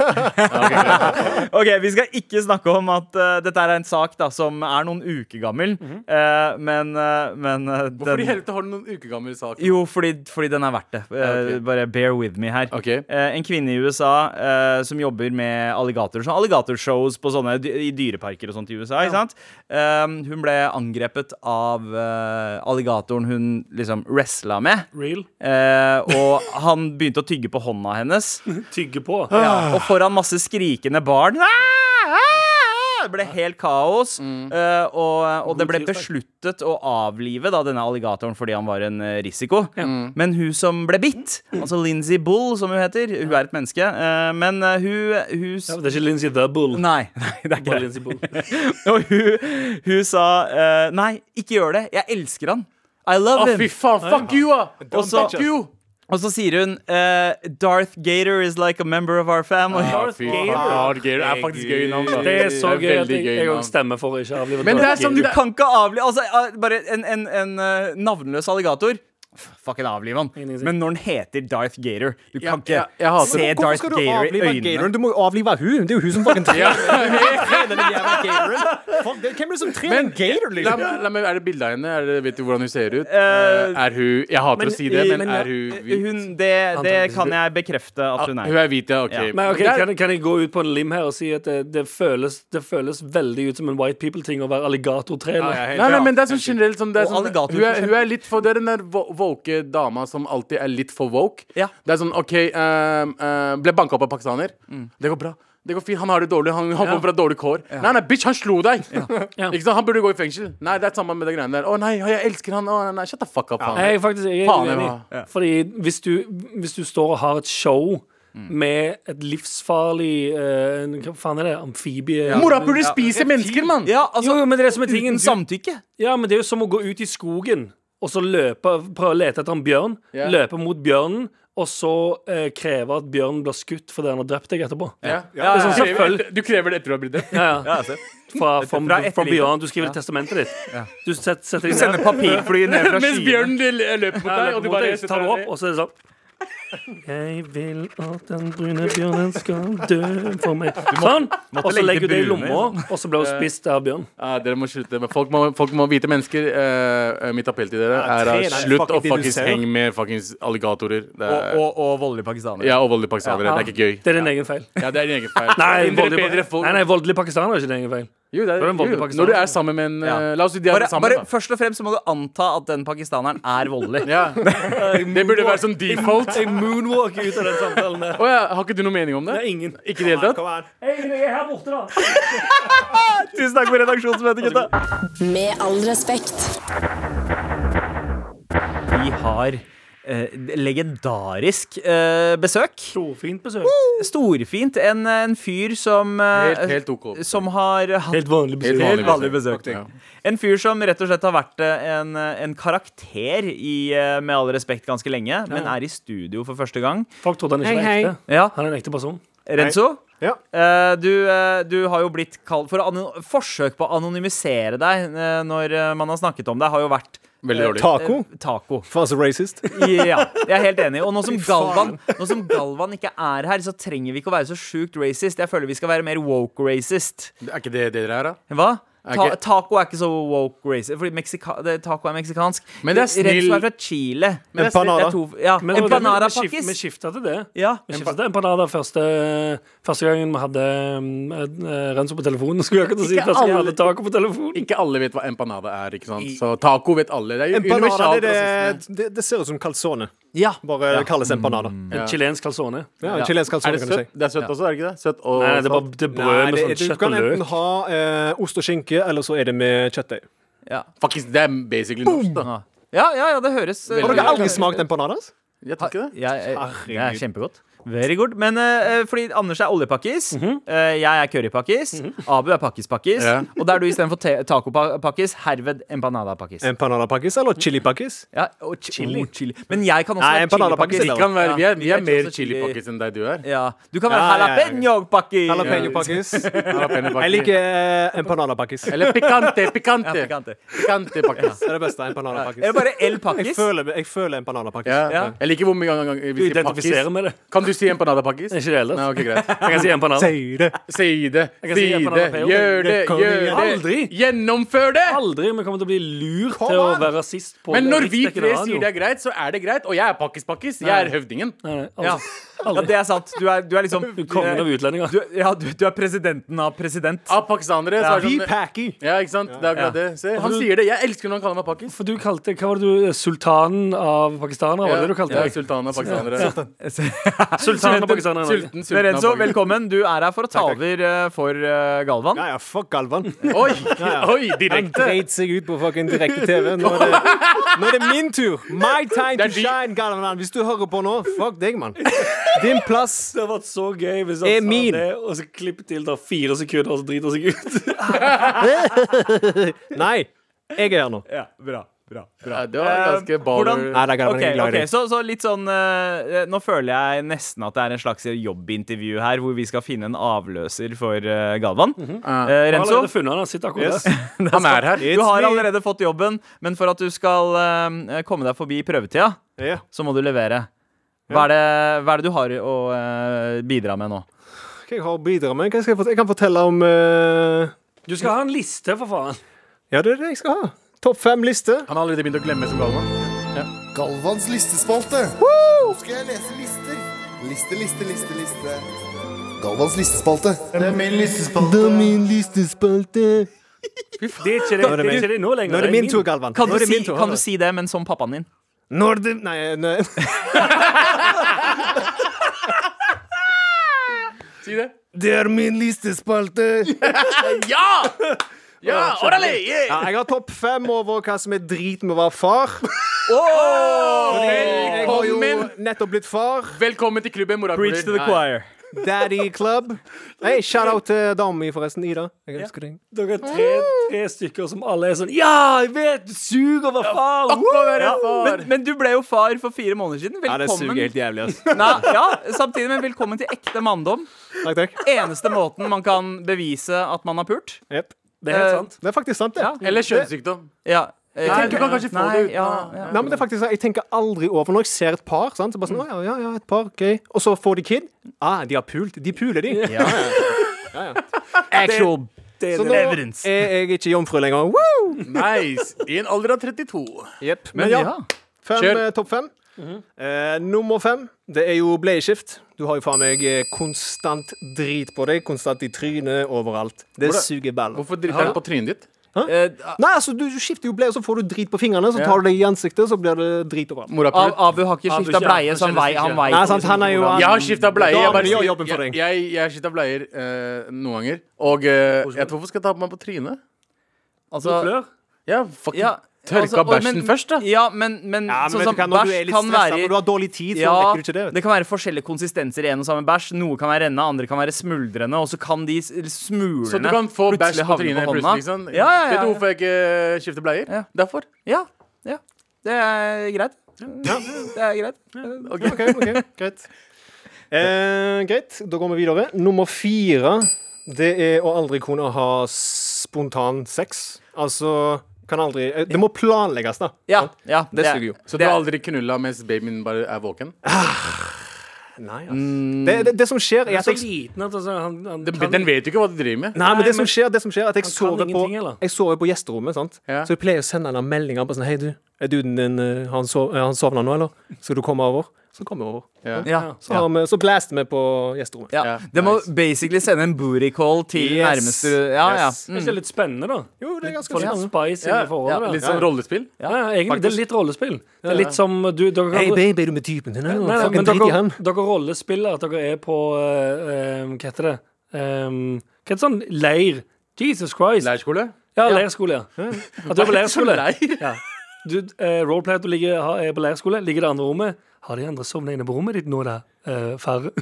Speaker 2: Ok, Vi skal ikke snakke om at eh, dette er en sak da som er noen uker gammel, eh, men, eh, men eh,
Speaker 5: Mhm. Hvorfor i
Speaker 2: den
Speaker 5: helvete har du noen ukegammel du sa?
Speaker 2: Jo, fordi, fordi den er verdt det. Eh,
Speaker 5: ok.
Speaker 2: Bare bear with me her.
Speaker 5: Ok.
Speaker 2: Eh, en kvinne i USA eh, som jobber med alligatorer. Sånn alligatorshows på sånne dy i dyreparker og sånt i USA. Ikke sant? Eh, hun ble angrepet av eh, alligatoren hun liksom wrestla med.
Speaker 6: Real.
Speaker 2: Eh, og han begynte å tygge på hånda hennes.
Speaker 6: Tygge på.
Speaker 2: Ja, og foran masse skrikende barn. Ah, ah, Det ble helt kaos.
Speaker 6: Mm.
Speaker 2: eh, og, og det ble besluttet å avlive da, denne alligatoren fordi han var en eh, risiko. Men hun som ble bitt,
Speaker 6: Mm.
Speaker 2: altså Lindsay Bull, som hun heter Hun er et menneske. eh, men eh, hun, hun s-
Speaker 6: Ja, men det er ikke Lincy The Bull.
Speaker 2: Nei, nei, det er ikke
Speaker 6: Bare
Speaker 2: det.
Speaker 6: Lindsay Bull.
Speaker 2: Og hun, hun sa eh, Nei, ikke gjør det. Jeg elsker han. I love
Speaker 5: Å,
Speaker 2: him.
Speaker 5: fy faen! Fuck you, ah!
Speaker 2: Og så-
Speaker 5: Fuck you!
Speaker 2: Og så sier hun eh, Darth Gator is like a member of our family.
Speaker 6: Ah.
Speaker 5: Ja, fy faen. Darth Gator er faktisk gøy navn. da.
Speaker 6: Det er så
Speaker 5: Det
Speaker 6: gøy
Speaker 5: er
Speaker 6: at
Speaker 5: veldig
Speaker 6: jeg-
Speaker 5: gøy
Speaker 6: jeg
Speaker 5: navn.
Speaker 6: òg stemmer for å ikke avlive
Speaker 5: Men det er
Speaker 6: Darth
Speaker 5: sånn
Speaker 2: Du
Speaker 6: Vader.
Speaker 2: kan ikke avlive Altså, eh, bare en, en, en eh, navnløs alligator F- Fucking avliv han
Speaker 6: Ingenting å si.
Speaker 2: Men når den heter Darth Gator Du kan ikke
Speaker 5: ja, jeg hater
Speaker 2: se
Speaker 5: det.
Speaker 2: Darth Gator i øynene
Speaker 7: gatoren? Du må jo avlive hun. Det er jo hun som fucking trener den jævla gatoren. Fuck, det- Hvem er det som trener en gator,
Speaker 5: La,
Speaker 7: liksom?
Speaker 5: la, meg- er det bilde av henne? Er det, vet du hvordan hun ser ut? er hun Jeg hater å si det, Eh, men,
Speaker 2: Men,
Speaker 5: er hun
Speaker 2: eh,
Speaker 5: hvit?
Speaker 2: hun, det, det
Speaker 6: Antageligvis.
Speaker 2: kan jeg bekrefte at hun
Speaker 5: Ah,
Speaker 2: er
Speaker 5: hvit, ja. OK.
Speaker 2: Ja.
Speaker 6: Men ok,
Speaker 5: Det er-
Speaker 6: kan, kan jeg gå ut på en lim her og si at det, det, føles, det føles veldig ut som en white people-ting å være
Speaker 5: Nei,
Speaker 6: alligatortrener?
Speaker 5: nei, men det er sånn generelt sånn, det
Speaker 2: Og
Speaker 5: er sånn
Speaker 2: alligator,
Speaker 5: hun, er,
Speaker 2: for
Speaker 5: hun er litt for Det er den der vo- woke dama som alltid er litt for woke.
Speaker 2: Ja.
Speaker 5: Det er sånn OK, ehm, ehm, ble banka opp av pakistaner.
Speaker 2: Mm.
Speaker 5: Det går bra. Det går fint. Han har det dårlig. Han han kommer fra dårlig kår. Nei, nei, bitch, han slo deg! Ikke sant? Han burde gå i fengsel. Nei, det er samme med de greiene der. Å nei, jeg elsker han. Å nei, nei, shut the fuck up. faen.
Speaker 6: Nei, jeg er faktisk jeg er
Speaker 5: Faen, jeg
Speaker 6: uenig.
Speaker 5: var-
Speaker 6: Fordi hvis du, hvis du står og har et show med et livsfarlig eh, Hva faen er det? Amfibie?
Speaker 5: Morapuler spiser mennesker, mann!
Speaker 2: Ja, altså
Speaker 6: jo, jo, men det er som er tingen
Speaker 2: Uten samtykke
Speaker 6: Ja, men det er jo som å gå ut i skogen og så løpe, prøve å lete etter en bjørn.
Speaker 5: Ja.
Speaker 6: Løpe mot bjørnen, og så eh, kreve at bjørnen blir skutt fordi han har drept deg etterpå.
Speaker 5: Ja.
Speaker 6: Det er sånn,
Speaker 5: Du krever-
Speaker 6: selvfølgelig.
Speaker 5: Du krever det etter du har blitt det.
Speaker 6: Ja, ja. Fra, from,
Speaker 2: Fra etterlivet.
Speaker 6: from beyond. Du skriver i testamentet ditt. Du set, setter deg
Speaker 2: Sende
Speaker 6: ned,
Speaker 2: papirfly ned fra
Speaker 5: Mens
Speaker 2: skyene
Speaker 5: bjørnen l- løper mot deg, og du
Speaker 6: mot
Speaker 5: bare
Speaker 6: deg, tar det opp, og så er det sånn Jeg vil at den brune bjørnen skal dø for meg. Sånn! Og så
Speaker 2: legge
Speaker 6: legger du det i
Speaker 2: brune i
Speaker 6: lomma, og så blir hun spist av bjørn.
Speaker 5: Ja, Ah, dere må slutte med folk må, folk må vite mennesker. eh, eh, mitt appell til dere er
Speaker 7: tre, det
Speaker 5: eh,
Speaker 7: er
Speaker 5: slutt
Speaker 7: fucking
Speaker 5: å fuckings
Speaker 7: dinosaurer.
Speaker 5: henge med fuckings alligatorer. Det
Speaker 2: Og,
Speaker 5: er,
Speaker 2: og, og voldelige pakistanere
Speaker 5: ja, og voldelige pakistanere. Det er ikke gøy.
Speaker 6: Det er din egen feil.
Speaker 5: Ja, det er din egen feil.
Speaker 6: Nei,
Speaker 5: Dere er
Speaker 6: voldelig,
Speaker 5: bedre folk.
Speaker 6: nei, nei, voldelig pakistaner er ikke din egen feil.
Speaker 5: Jo, det er,
Speaker 6: er en voldelig
Speaker 5: jo,
Speaker 6: pakistaner.
Speaker 5: når du er sammen med en eh,
Speaker 2: Ja.
Speaker 5: La oss si de er
Speaker 2: bare,
Speaker 5: sammen,
Speaker 2: bare
Speaker 5: da.
Speaker 2: først og fremst så må du anta at den pakistaneren er voldelig
Speaker 5: Ja. Det burde være sånn default.
Speaker 6: Jeg moonwalker ut av den samtalen der.
Speaker 5: Å ja, har ikke du noe mening om det?
Speaker 6: Det er ingen.
Speaker 5: Ikke i det hele tatt?
Speaker 6: Hei, jeg er her borte, da.
Speaker 2: Tusen takk for redaksjonsmøtet, gutta
Speaker 4: Med all respekt.
Speaker 2: Vi har eh, legendarisk eh, besøk
Speaker 6: Storfint besøk.
Speaker 2: Storfint. En, en fyr som eh,
Speaker 5: Helt, helt OK.
Speaker 2: Som har hatt
Speaker 6: Helt vanlig besøk.
Speaker 5: Helt
Speaker 2: Helt vanlig
Speaker 5: vanlig
Speaker 2: besøk.
Speaker 5: besøk.
Speaker 2: En fyr som rett og slett har vært eh, en, en karakter i eh, Med all respekt ganske lenge, men er i studio for første gang.
Speaker 6: Folk trodde han ikke var ekte.
Speaker 2: Ja,
Speaker 6: Han er en ekte person.
Speaker 2: Renzo,
Speaker 7: Ja.
Speaker 2: eh, du, eh, du har jo blitt kalt for ano- Forsøk på å anonymisere deg eh, når eh, man har snakket om deg, har jo vært
Speaker 5: Veldig dårlig.
Speaker 7: Taco?
Speaker 2: eh, taco.
Speaker 7: Faen, så racist.
Speaker 2: Ja, jeg er helt enig. Og nå som, Galvan, nå som Galvan ikke er her, så trenger vi ikke å være så sjukt racist. Jeg føler vi skal være mer woke racist.
Speaker 5: Er ikke det det dere er, da?
Speaker 2: Hva? Ta
Speaker 5: ikke-
Speaker 2: Taco er ikke så woke racist, fordi meksika det, taco er meksikansk.
Speaker 5: Men det er snill-
Speaker 2: Renzo er fra Chile. Men
Speaker 7: det er snill-
Speaker 2: Det er to, ja.
Speaker 6: Men-
Speaker 2: Empanada
Speaker 6: vi skif- Vi
Speaker 2: pakkis.
Speaker 6: skifta til det.
Speaker 2: Ja.
Speaker 6: Vi skiftet til empanada første, første gangen vi hadde um, eh, Renzo på telefonen. Skulle jeg akkurat si
Speaker 5: Ikke
Speaker 6: første gang vi
Speaker 5: alle-
Speaker 6: hadde taco på telefonen.
Speaker 5: Ikke alle vet hva empanada er, ikke sant? Så taco vet alle. Det er jo
Speaker 7: Empanada,
Speaker 5: universalt.
Speaker 7: det,
Speaker 5: rasisme.
Speaker 7: det, det, det ser ut som calzone.
Speaker 2: Ja.
Speaker 7: Bare det kalles empanada.
Speaker 6: En chilensk calzone.
Speaker 7: Ja, en chilensk
Speaker 5: Er
Speaker 7: calzone,
Speaker 5: det
Speaker 7: kan du si.
Speaker 5: søtt? Det er søtt også, er det ikke det? Søtt og
Speaker 6: Nei, det er
Speaker 5: salt.
Speaker 6: bare det er brød
Speaker 7: Nei,
Speaker 6: med
Speaker 7: det-
Speaker 6: sånn
Speaker 7: du
Speaker 6: kjøtt
Speaker 7: kan
Speaker 6: og
Speaker 7: enten
Speaker 6: løk.
Speaker 7: ha eh, ost og skinke, eller så er det med kjøttdeig.
Speaker 2: Ja.
Speaker 5: Faktisk, det er basically norsk, da.
Speaker 2: Ja, ja, ja, det høres
Speaker 7: Har
Speaker 5: Veldig.
Speaker 7: dere aldri smakt empanadas?
Speaker 5: Jeg tror ikke det.
Speaker 2: Ja, eh, det er kjempegodt. Very good. Men eh, eh, fordi Anders er oljepakkis, eh, jeg er currypakkis, Abu er pakkis-pakkis,
Speaker 5: Mhm. Ja.
Speaker 2: og da er du istedenfor tacopakkis herved empanada-pakkis.
Speaker 7: Empanada-pakkis eller chili-pakkis?
Speaker 2: Ja, og ch chili. Oh, chili. Men jeg kan også
Speaker 7: Nei,
Speaker 2: være
Speaker 7: empanada-pakkis.
Speaker 5: Vi, kan være, vi er, vi
Speaker 2: Ja,
Speaker 5: er
Speaker 2: vi er
Speaker 5: sånn mer
Speaker 2: også chili-
Speaker 5: chilipakkis enn deg du er.
Speaker 2: Ja. Du kan være
Speaker 7: Ja, ja, ja, ok.
Speaker 2: jalapeño-pakkis.
Speaker 7: Jalapeño-pakkis. Jeg
Speaker 5: Jeg
Speaker 7: liker eh, empanada-pakkis. Det
Speaker 5: Eller picante, picante.
Speaker 2: Ja, pikante.
Speaker 5: Picante pakkis.
Speaker 7: er det beste.
Speaker 2: Er det
Speaker 7: Empanada-pakkis.
Speaker 2: bare El Pakkis?
Speaker 7: Jeg føler, jeg føler empanada-pakkis.
Speaker 5: Ja.
Speaker 2: Ja.
Speaker 5: Jeg liker hvor mange ganger vi
Speaker 6: Du
Speaker 5: sier pakkis.
Speaker 6: identifiserer med det.
Speaker 5: Kan du si empanada pakkis?
Speaker 6: Ikke det ellers.
Speaker 5: Nei, ok, greit.
Speaker 6: Jeg kan si en banan.
Speaker 7: Sier det.
Speaker 5: Si det,
Speaker 6: Jeg kan
Speaker 5: si
Speaker 6: si
Speaker 5: det,
Speaker 6: empanada peo.
Speaker 5: gjør det,
Speaker 7: Kom
Speaker 5: gjør det.
Speaker 7: igjen.
Speaker 6: Aldri.
Speaker 5: Gjennomfør det!
Speaker 6: Aldri vi kommer til å bli lurt til å
Speaker 5: on!
Speaker 6: være rasist på
Speaker 5: Men når vi tre
Speaker 6: riksdekkende radio.
Speaker 5: sier det er greit, så er det greit. Og jeg er pakkis-pakkis. Jeg
Speaker 6: Nei.
Speaker 5: er høvdingen.
Speaker 6: Nei, nei,
Speaker 2: Ja. ja,
Speaker 6: aldri.
Speaker 2: det er sant. Du er, du er liksom
Speaker 6: Du er kongen av utlendinger.
Speaker 2: Du, ja, du, du er presidenten av president.
Speaker 5: Av pakistanere. så
Speaker 2: Ja.
Speaker 5: er det sånn,
Speaker 7: packy.
Speaker 5: ja, ikke sant? Det er akkurat det. Se, han
Speaker 6: du-
Speaker 5: sier det. Jeg elsker når han kaller meg pakkis.
Speaker 6: For du kalte, hva var det du, sultanen av pakistanere? Var det det du kalte
Speaker 5: Ja,
Speaker 6: deg?
Speaker 5: sultanen av pakistanere.
Speaker 6: Sultanen av pakistanere i Norge.
Speaker 5: Sulten, sulten av
Speaker 2: Lorenzo,
Speaker 5: pakistanere.
Speaker 2: velkommen. Du er her for å ta over eh, for eh, Galvan.
Speaker 7: Ja, ja, fuck Galvan.
Speaker 5: Oi, oi,
Speaker 7: Han
Speaker 5: direkte.
Speaker 7: dreit seg ut på fucking direkte-TV. Nå, er det- nå er det min tur. My time to
Speaker 5: Det er de-
Speaker 7: shine, Galvan. Hvis du hører på nå, fuck deg, mann. Din plass.
Speaker 6: Det hadde vært så gøy hvis
Speaker 7: Er
Speaker 6: han sa
Speaker 7: min.
Speaker 6: det, og så klipp til der fire sekunder, og så driter han seg ut.
Speaker 7: Nei, jeg er her nå.
Speaker 2: Ja, bra, bra, bra.
Speaker 5: Ja, det var ganske
Speaker 2: Eh,
Speaker 5: baller.
Speaker 2: hvordan-
Speaker 7: Nei, det er Galvan.
Speaker 2: Ok,
Speaker 7: jeg er glad i
Speaker 2: ok,
Speaker 7: deg.
Speaker 2: så, så litt sånn eh, Nå føler jeg nesten at det er en slags jobbintervju her, hvor vi skal finne en avløser for eh, Galvan. Eh,
Speaker 6: Jeg har
Speaker 2: Renzo,
Speaker 6: allerede funnet han, han sitter akkurat
Speaker 2: Yes.
Speaker 6: der.
Speaker 5: Han er her.
Speaker 2: du har
Speaker 7: me.
Speaker 2: allerede fått jobben, men for at du skal eh, komme deg forbi prøvetida,
Speaker 7: Ja.
Speaker 2: så må du levere. Hva er det, hva er det du har å eh, bidra med nå?
Speaker 7: Hva jeg har å bidra med? Hva skal jeg, fort- jeg kan fortelle om eh,
Speaker 6: Du skal ha en liste, for faen.
Speaker 7: Ja, det er det jeg skal ha. Topp fem-liste.
Speaker 5: Han har allerede begynt å glemme som galman.
Speaker 8: Galvans listespalte. Nå skal jeg lese lister. Liste, liste, liste, liste. Galvans listespalte. Det er min listespalte.
Speaker 6: Det er ikke det, det, er ikke det nå lenger.
Speaker 7: Nå er det min tur, Galvan.
Speaker 2: Kan
Speaker 7: Nå
Speaker 2: du,
Speaker 7: er det
Speaker 2: si,
Speaker 7: min tur.
Speaker 2: kan du si det, men som pappaen din?
Speaker 7: Når det Nei, nei.
Speaker 5: Si det.
Speaker 7: Det er min listespalte.
Speaker 5: Ja! Ja, orale! Yeah!
Speaker 7: Ja, jeg har topp fem over hva som er drit med å være far. Jeg har jo
Speaker 5: Velkommen,
Speaker 7: nettopp blitt far.
Speaker 5: velkommen til klubben Morapuler.
Speaker 7: Daddy Club. Hey, shout out til dama mi, forresten. Ida. Jeg elsker deg.
Speaker 6: Dere er tre, tre stykker som alle er sånn Ja, jeg vet! Du suger over far!
Speaker 2: Ja, men, men du ble jo far for fire måneder siden. Velkommen.
Speaker 7: jævlig, ass.
Speaker 2: Nei, ja, samtidig, men velkommen til ekte manndom.
Speaker 7: Takk, takk.
Speaker 2: Eneste måten man kan bevise at man har pult.
Speaker 7: Jep.
Speaker 6: Det er helt
Speaker 2: Eh,
Speaker 6: sant.
Speaker 7: Det er faktisk sant, det.
Speaker 5: Eller kjønnssykdom.
Speaker 2: Ja, jeg
Speaker 5: Nei,
Speaker 2: tenker-
Speaker 5: du kan kanskje få
Speaker 2: Nei,
Speaker 5: det ut.
Speaker 2: Ja, ja.
Speaker 7: Nei, men det er faktisk sant. Jeg tenker aldri over når jeg ser et par. Sant? Så bare
Speaker 5: Mm.
Speaker 7: sånn, «Å, ja, ja, ja, et par, ok Og så får de kid. Ah, de har pult. De puler, de.
Speaker 2: Actual
Speaker 6: Det
Speaker 7: Så
Speaker 6: er
Speaker 7: nå er
Speaker 6: det.
Speaker 2: evidence.
Speaker 7: jeg ikke jomfru lenger. Woo!
Speaker 5: Nice. I en alder av 32.
Speaker 7: Jep.
Speaker 2: Men
Speaker 7: Men ja,
Speaker 2: ja. Mhm.
Speaker 7: fem,
Speaker 5: Kjør.
Speaker 7: eh, topp fem. eh, nummer fem, det er jo bleieskift. Du har jo faen meg eh, konstant drit på deg. Konstant i trynet overalt. Det
Speaker 5: Hvordan-
Speaker 7: suger baller.
Speaker 5: Hvorfor driter han på trynet ditt?
Speaker 2: Eh,
Speaker 7: Nei, altså, du, du skifter jo bleie, så får du drit på fingrene. Så tar du det i ansiktet, så blir det drit overalt.
Speaker 2: Ab-
Speaker 5: Morapuler.
Speaker 2: Abu har ikke
Speaker 6: Abu
Speaker 2: skifta
Speaker 6: ikke,
Speaker 2: bleie,
Speaker 6: han
Speaker 2: så han
Speaker 6: skjønner
Speaker 2: vei,
Speaker 6: ikke.
Speaker 2: han vei.
Speaker 7: Nei, sant, han er jo
Speaker 5: Jeg har skifta bleie.
Speaker 7: Da
Speaker 5: Jeg,
Speaker 7: må
Speaker 5: bare
Speaker 7: du gjøre
Speaker 5: sier-
Speaker 7: jobben for
Speaker 5: jeg,
Speaker 7: deg.
Speaker 5: jeg, jeg har skifta bleier eh, noen ganger. Og eh, jeg tror hvorfor skal jeg ta på meg på trynet?
Speaker 2: Altså,
Speaker 6: Flør.
Speaker 5: Ja, fucking
Speaker 2: ja,
Speaker 5: tørka
Speaker 2: altså, og-
Speaker 5: bæsjen
Speaker 2: men-
Speaker 5: først, da.
Speaker 2: Ja, men, men,
Speaker 7: Ja, men
Speaker 2: sånn
Speaker 7: vet
Speaker 2: som
Speaker 7: du hva, når du er
Speaker 2: bæsj
Speaker 7: litt
Speaker 2: kan
Speaker 7: stressa,
Speaker 2: være
Speaker 7: når du har dårlig tid, så
Speaker 2: Ja,
Speaker 7: rekker du ikke det. vet du.
Speaker 2: det kan være forskjellige konsistenser i en og samme bæsj. Noe kan være rennende, andre kan være smuldrende, og så kan de s- smulene
Speaker 5: Så du kan få bæsj på
Speaker 2: havne
Speaker 5: trynet
Speaker 2: hånda.
Speaker 5: plutselig. Sånn.
Speaker 2: Ja, ja,
Speaker 5: Vet du
Speaker 2: ja,
Speaker 5: hvorfor jeg ikke skifter bleier?
Speaker 2: Ja.
Speaker 5: Derfor.
Speaker 2: ja. ja. Det er greit. Det er greit.
Speaker 7: Ok, ok, greit. Eh, greit, da går vi videre. Nummer fire, det er å aldri kunne ha spontan sex. Altså, kan aldri eh, Det må planlegges, da.
Speaker 2: Ja, ja
Speaker 7: Det suger jo.
Speaker 5: Så
Speaker 2: det
Speaker 5: du
Speaker 2: er-
Speaker 5: har aldri knulla mens babyen bare er våken?
Speaker 7: Nei, ass. Det, det, det som skjer, er
Speaker 6: Jeg er
Speaker 7: at
Speaker 6: så
Speaker 7: jeg
Speaker 6: liten at altså, han, han
Speaker 5: Den,
Speaker 6: kan-
Speaker 5: den vet jo ikke hva du driver med.
Speaker 7: Nei, men
Speaker 6: Nei,
Speaker 7: det som
Speaker 6: men-
Speaker 7: skjer, det som skjer er at jeg
Speaker 6: Han kan
Speaker 7: sover på,
Speaker 6: ingenting, eller?
Speaker 7: jeg sover på gjesterommet. sant?
Speaker 5: Ja.
Speaker 7: Så jeg pleier å sende han meldinger på sånn Hei, du, er duden din eh, Han, sov, eh, han sovna nå, eller? Skal du komme over? Så kommer jeg over.
Speaker 5: Ja.
Speaker 2: Ja.
Speaker 7: Så, har vi- så blaster vi på gjesterommet.
Speaker 2: Ja.
Speaker 5: Ja,
Speaker 2: Det må basically sende en booty call til
Speaker 7: Yes.
Speaker 2: nærmeste Ja, ja. Mm.
Speaker 7: Yes.
Speaker 6: Det er ikke litt spennende, da.
Speaker 7: Jo, det er ganske
Speaker 6: Få litt
Speaker 7: sånn.
Speaker 6: spice
Speaker 5: Ja,
Speaker 6: inn i forholdet.
Speaker 5: ja,
Speaker 6: da.
Speaker 5: litt sånn rollespill.
Speaker 6: Ja, ja, egentlig, det er litt rollespill. Det er litt som du, dere kan,
Speaker 7: Hei, baby, er du med typen din? eller?
Speaker 6: Nei, nei,
Speaker 7: Fucking
Speaker 6: men
Speaker 7: drit i
Speaker 6: dere,
Speaker 7: han.
Speaker 6: dere rollespiller at dere er på eh, eh, Hva heter det? Ehm, hva heter sånn leir? Jesus Christ.
Speaker 5: Leirskole.
Speaker 6: Ja, leirskole, ja. At du er på leirskole.
Speaker 5: Leir.
Speaker 6: Ja. Du, eh, roleplay at du ligger, har- er på leirskole, ligger i det andre rommet. Har de andre sovna inne på rommet ditt nå, da? Uh, færre?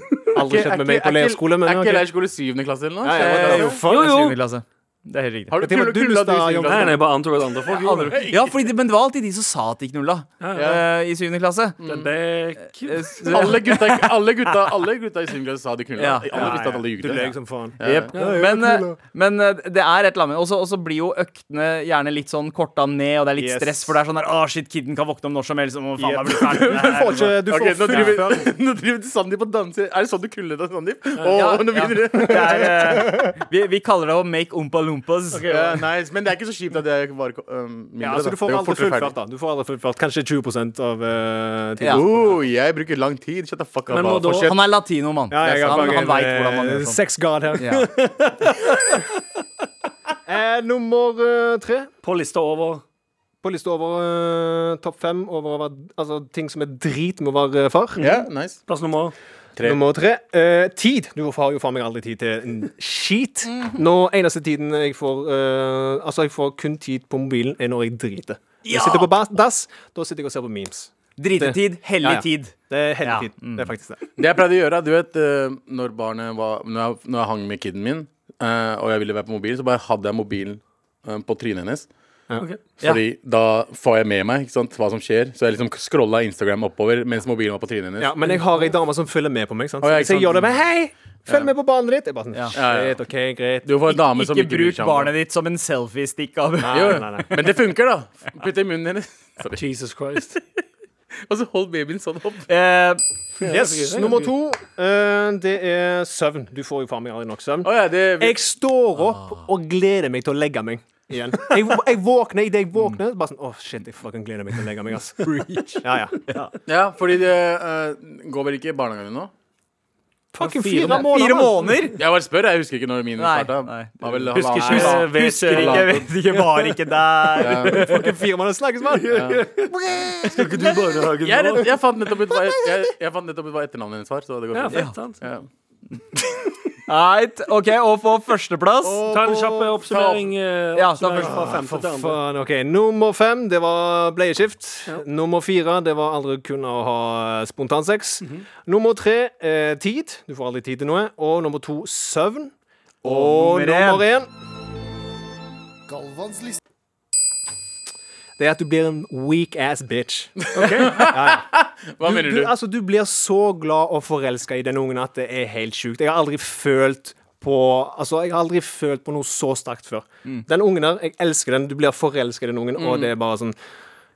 Speaker 7: Aldri skjedd med meg på leirskole, men
Speaker 5: Er ikke
Speaker 7: ok.
Speaker 5: leirskole syvende klasse eller noe?
Speaker 7: Ja, ja,
Speaker 5: Eh,
Speaker 7: jo,
Speaker 2: Jo, jo.
Speaker 7: faen, jeg sier-
Speaker 2: Syvende klasse. altså. Det er helt riktig.
Speaker 5: Har du
Speaker 7: Hva tenker
Speaker 5: knulla
Speaker 7: du,
Speaker 5: du,
Speaker 7: Lustad,
Speaker 5: singlet?
Speaker 7: Jon?
Speaker 6: Nei, nei, bare antok at andre folk gjorde det.
Speaker 2: Ja, fordi, de- men det var alltid de som sa at de knulla eh, i syvende klasse.
Speaker 6: Bekk.
Speaker 2: Eh, så-
Speaker 5: Alle gutta, alle gutta, alle gutta i syvende klasse sa de knulla.
Speaker 2: Ja.
Speaker 5: Alle visste at alle
Speaker 7: Du løy
Speaker 5: jugde.
Speaker 7: som faen.
Speaker 2: Jep. Men, eh, men eh, det er et eller annet. Og så- Og så blir jo øktene gjerne litt sånn korta ned, og det er litt
Speaker 7: Yes.
Speaker 2: stress, for det er sånn der Å, shit, kiden kan våkne om når som helst. Og, faen, jeg blir ferdig med det
Speaker 7: Du
Speaker 2: her».
Speaker 7: får ikke Du får
Speaker 5: Ok, nå
Speaker 7: full
Speaker 5: driver, nå driver Sandeep og danser. Er det sånn du knuller deg, Sandeep? Åh,
Speaker 2: Ja,
Speaker 5: nå
Speaker 2: ja.
Speaker 5: begynner det.
Speaker 2: Det er, eh, vi, vi kaller det å make ompa lumpas.
Speaker 5: Ja, nice. Men det er ikke så kjipt at det var um, mindre.
Speaker 7: Ja, altså,
Speaker 5: da.
Speaker 7: du får
Speaker 5: Det var
Speaker 7: aldri
Speaker 5: fortere ferdig.
Speaker 7: fullført, da. Du får aldri fullført kanskje 20 av uh,
Speaker 2: Ja.
Speaker 7: tiden.
Speaker 5: Oh, jeg bruker lang tid. Shut the fuck up.
Speaker 6: Men må
Speaker 5: da.
Speaker 6: da-
Speaker 5: Fortsett.
Speaker 2: Han er latino, mann.
Speaker 7: Ja, jeg er
Speaker 2: han
Speaker 7: fucking,
Speaker 2: han veit hvordan man
Speaker 7: eh,
Speaker 2: gjør sånn.
Speaker 7: Sex god her.
Speaker 2: Ja.
Speaker 7: Eh, nummer eh, tre
Speaker 6: På lista over
Speaker 7: på lista over eh, topp fem over å være- altså, ting som er drit med å være eh, far.
Speaker 5: Ja, nice.
Speaker 6: plass nummer
Speaker 5: Tre.
Speaker 7: Nummer tre. eh, tid. Du har jo faen meg aldri tid til en skit.
Speaker 5: Mhm.
Speaker 7: Nå eneste tiden jeg får eh, Altså, jeg får kun tid på mobilen, er når jeg driter. Jeg sitter på bas- dass, da sitter jeg og ser på memes.
Speaker 2: Dritetid, hellig
Speaker 7: Ja, ja.
Speaker 2: tid.
Speaker 7: Det er hele
Speaker 2: Ja,
Speaker 7: tiden.
Speaker 5: mm.
Speaker 7: Det er faktisk det.
Speaker 5: Det jeg pleide å gjøre, du vet eh, Når barnet var Når jeg, når jeg hang med kiden min, eh, og jeg ville være på mobilen, så bare hadde jeg mobilen eh, på trynet hennes.
Speaker 6: Ok.
Speaker 5: Fordi da får jeg med meg ikke sant, hva som skjer. Så jeg liksom scrolla Instagram oppover mens mobilen var på trynet hennes.
Speaker 7: Ja, men jeg har ei dame som følger med på meg. Sant?
Speaker 5: Å, ja, ikke
Speaker 7: Så jeg
Speaker 5: sant.
Speaker 7: gjør det med 'hei, følg med på barnet ditt'. Jeg bare sånn,
Speaker 2: Ja.
Speaker 5: Ja, ja.
Speaker 7: shit, ok, greit
Speaker 5: Du får en dame som
Speaker 2: Ikke
Speaker 5: bryr
Speaker 2: bruk
Speaker 5: seg om det.
Speaker 2: barnet ditt som en selfiestick av
Speaker 5: Jo,
Speaker 7: nei, nei.
Speaker 5: men det funker, da. Putt det i munnen hennes,
Speaker 6: Jesus Christ.
Speaker 5: og så hold babyen sånn opp.
Speaker 2: Eh,
Speaker 7: Yes, Nummer to, eh, det er søvn. Du får jo faen meg aldri nok søvn.
Speaker 5: Å ja, det
Speaker 7: Jeg står opp og gleder meg til å legge meg. Igjen. Jeg, jeg våkner idet jeg våkner. Bare sånn, åh shit, jeg fucking gleder meg til å legge meg. ass ja, ja.
Speaker 5: Ja, fordi det eh, går vel ikke i barnehagen nå?
Speaker 7: Fucking fire
Speaker 6: Fire må-
Speaker 7: måneder.
Speaker 2: fire
Speaker 7: mann.
Speaker 2: måneder?
Speaker 5: Jeg bare spør. Jeg husker ikke når min
Speaker 2: Nei,
Speaker 5: starta.
Speaker 2: nei.
Speaker 5: Var vel
Speaker 6: Husker
Speaker 5: halvannen-
Speaker 6: ikke.
Speaker 5: Nei,
Speaker 6: Nei,
Speaker 2: Husker
Speaker 6: vet
Speaker 2: ikke, vet ikke, var ikke der.
Speaker 5: ja.
Speaker 7: Fucking fire måneder snakkes, mann.
Speaker 6: Skal ikke du i barnehagen
Speaker 5: jeg, er
Speaker 6: nå?
Speaker 5: redd- jeg fant nettopp ut hva, jeg, jeg fant nettopp ut hva etternavnet hennes var. Så det går
Speaker 6: Ja,
Speaker 5: fint.
Speaker 6: fett, sant?
Speaker 5: Ja.
Speaker 2: Right, ok, Og på førsteplass
Speaker 6: Ta en kjapp eh, oppsummering. eh,
Speaker 2: Ja, ta
Speaker 6: oppsummering
Speaker 2: først.
Speaker 6: fra femte til andre.
Speaker 7: Faen, ok, Nummer fem, det var bleieskift. Nummer fire, det var aldri kun å ha spontansex. Nummer tre, eh, tid. Du får aldri tid til noe. Og nummer to, søvn. Og
Speaker 2: nummer én.
Speaker 7: nummer én,
Speaker 8: Galvans liste.
Speaker 7: det er at du blir en weak ass bitch.
Speaker 5: Hva
Speaker 7: Du,
Speaker 5: mener du?
Speaker 7: du, altså, du blir så glad og forelska i den ungen at det er helt sjukt. Jeg har aldri følt på Altså, jeg har aldri følt på noe så sterkt før.
Speaker 5: Mm.
Speaker 7: Den ungen der, jeg elsker den. Du blir forelska i den ungen, og det er bare sånn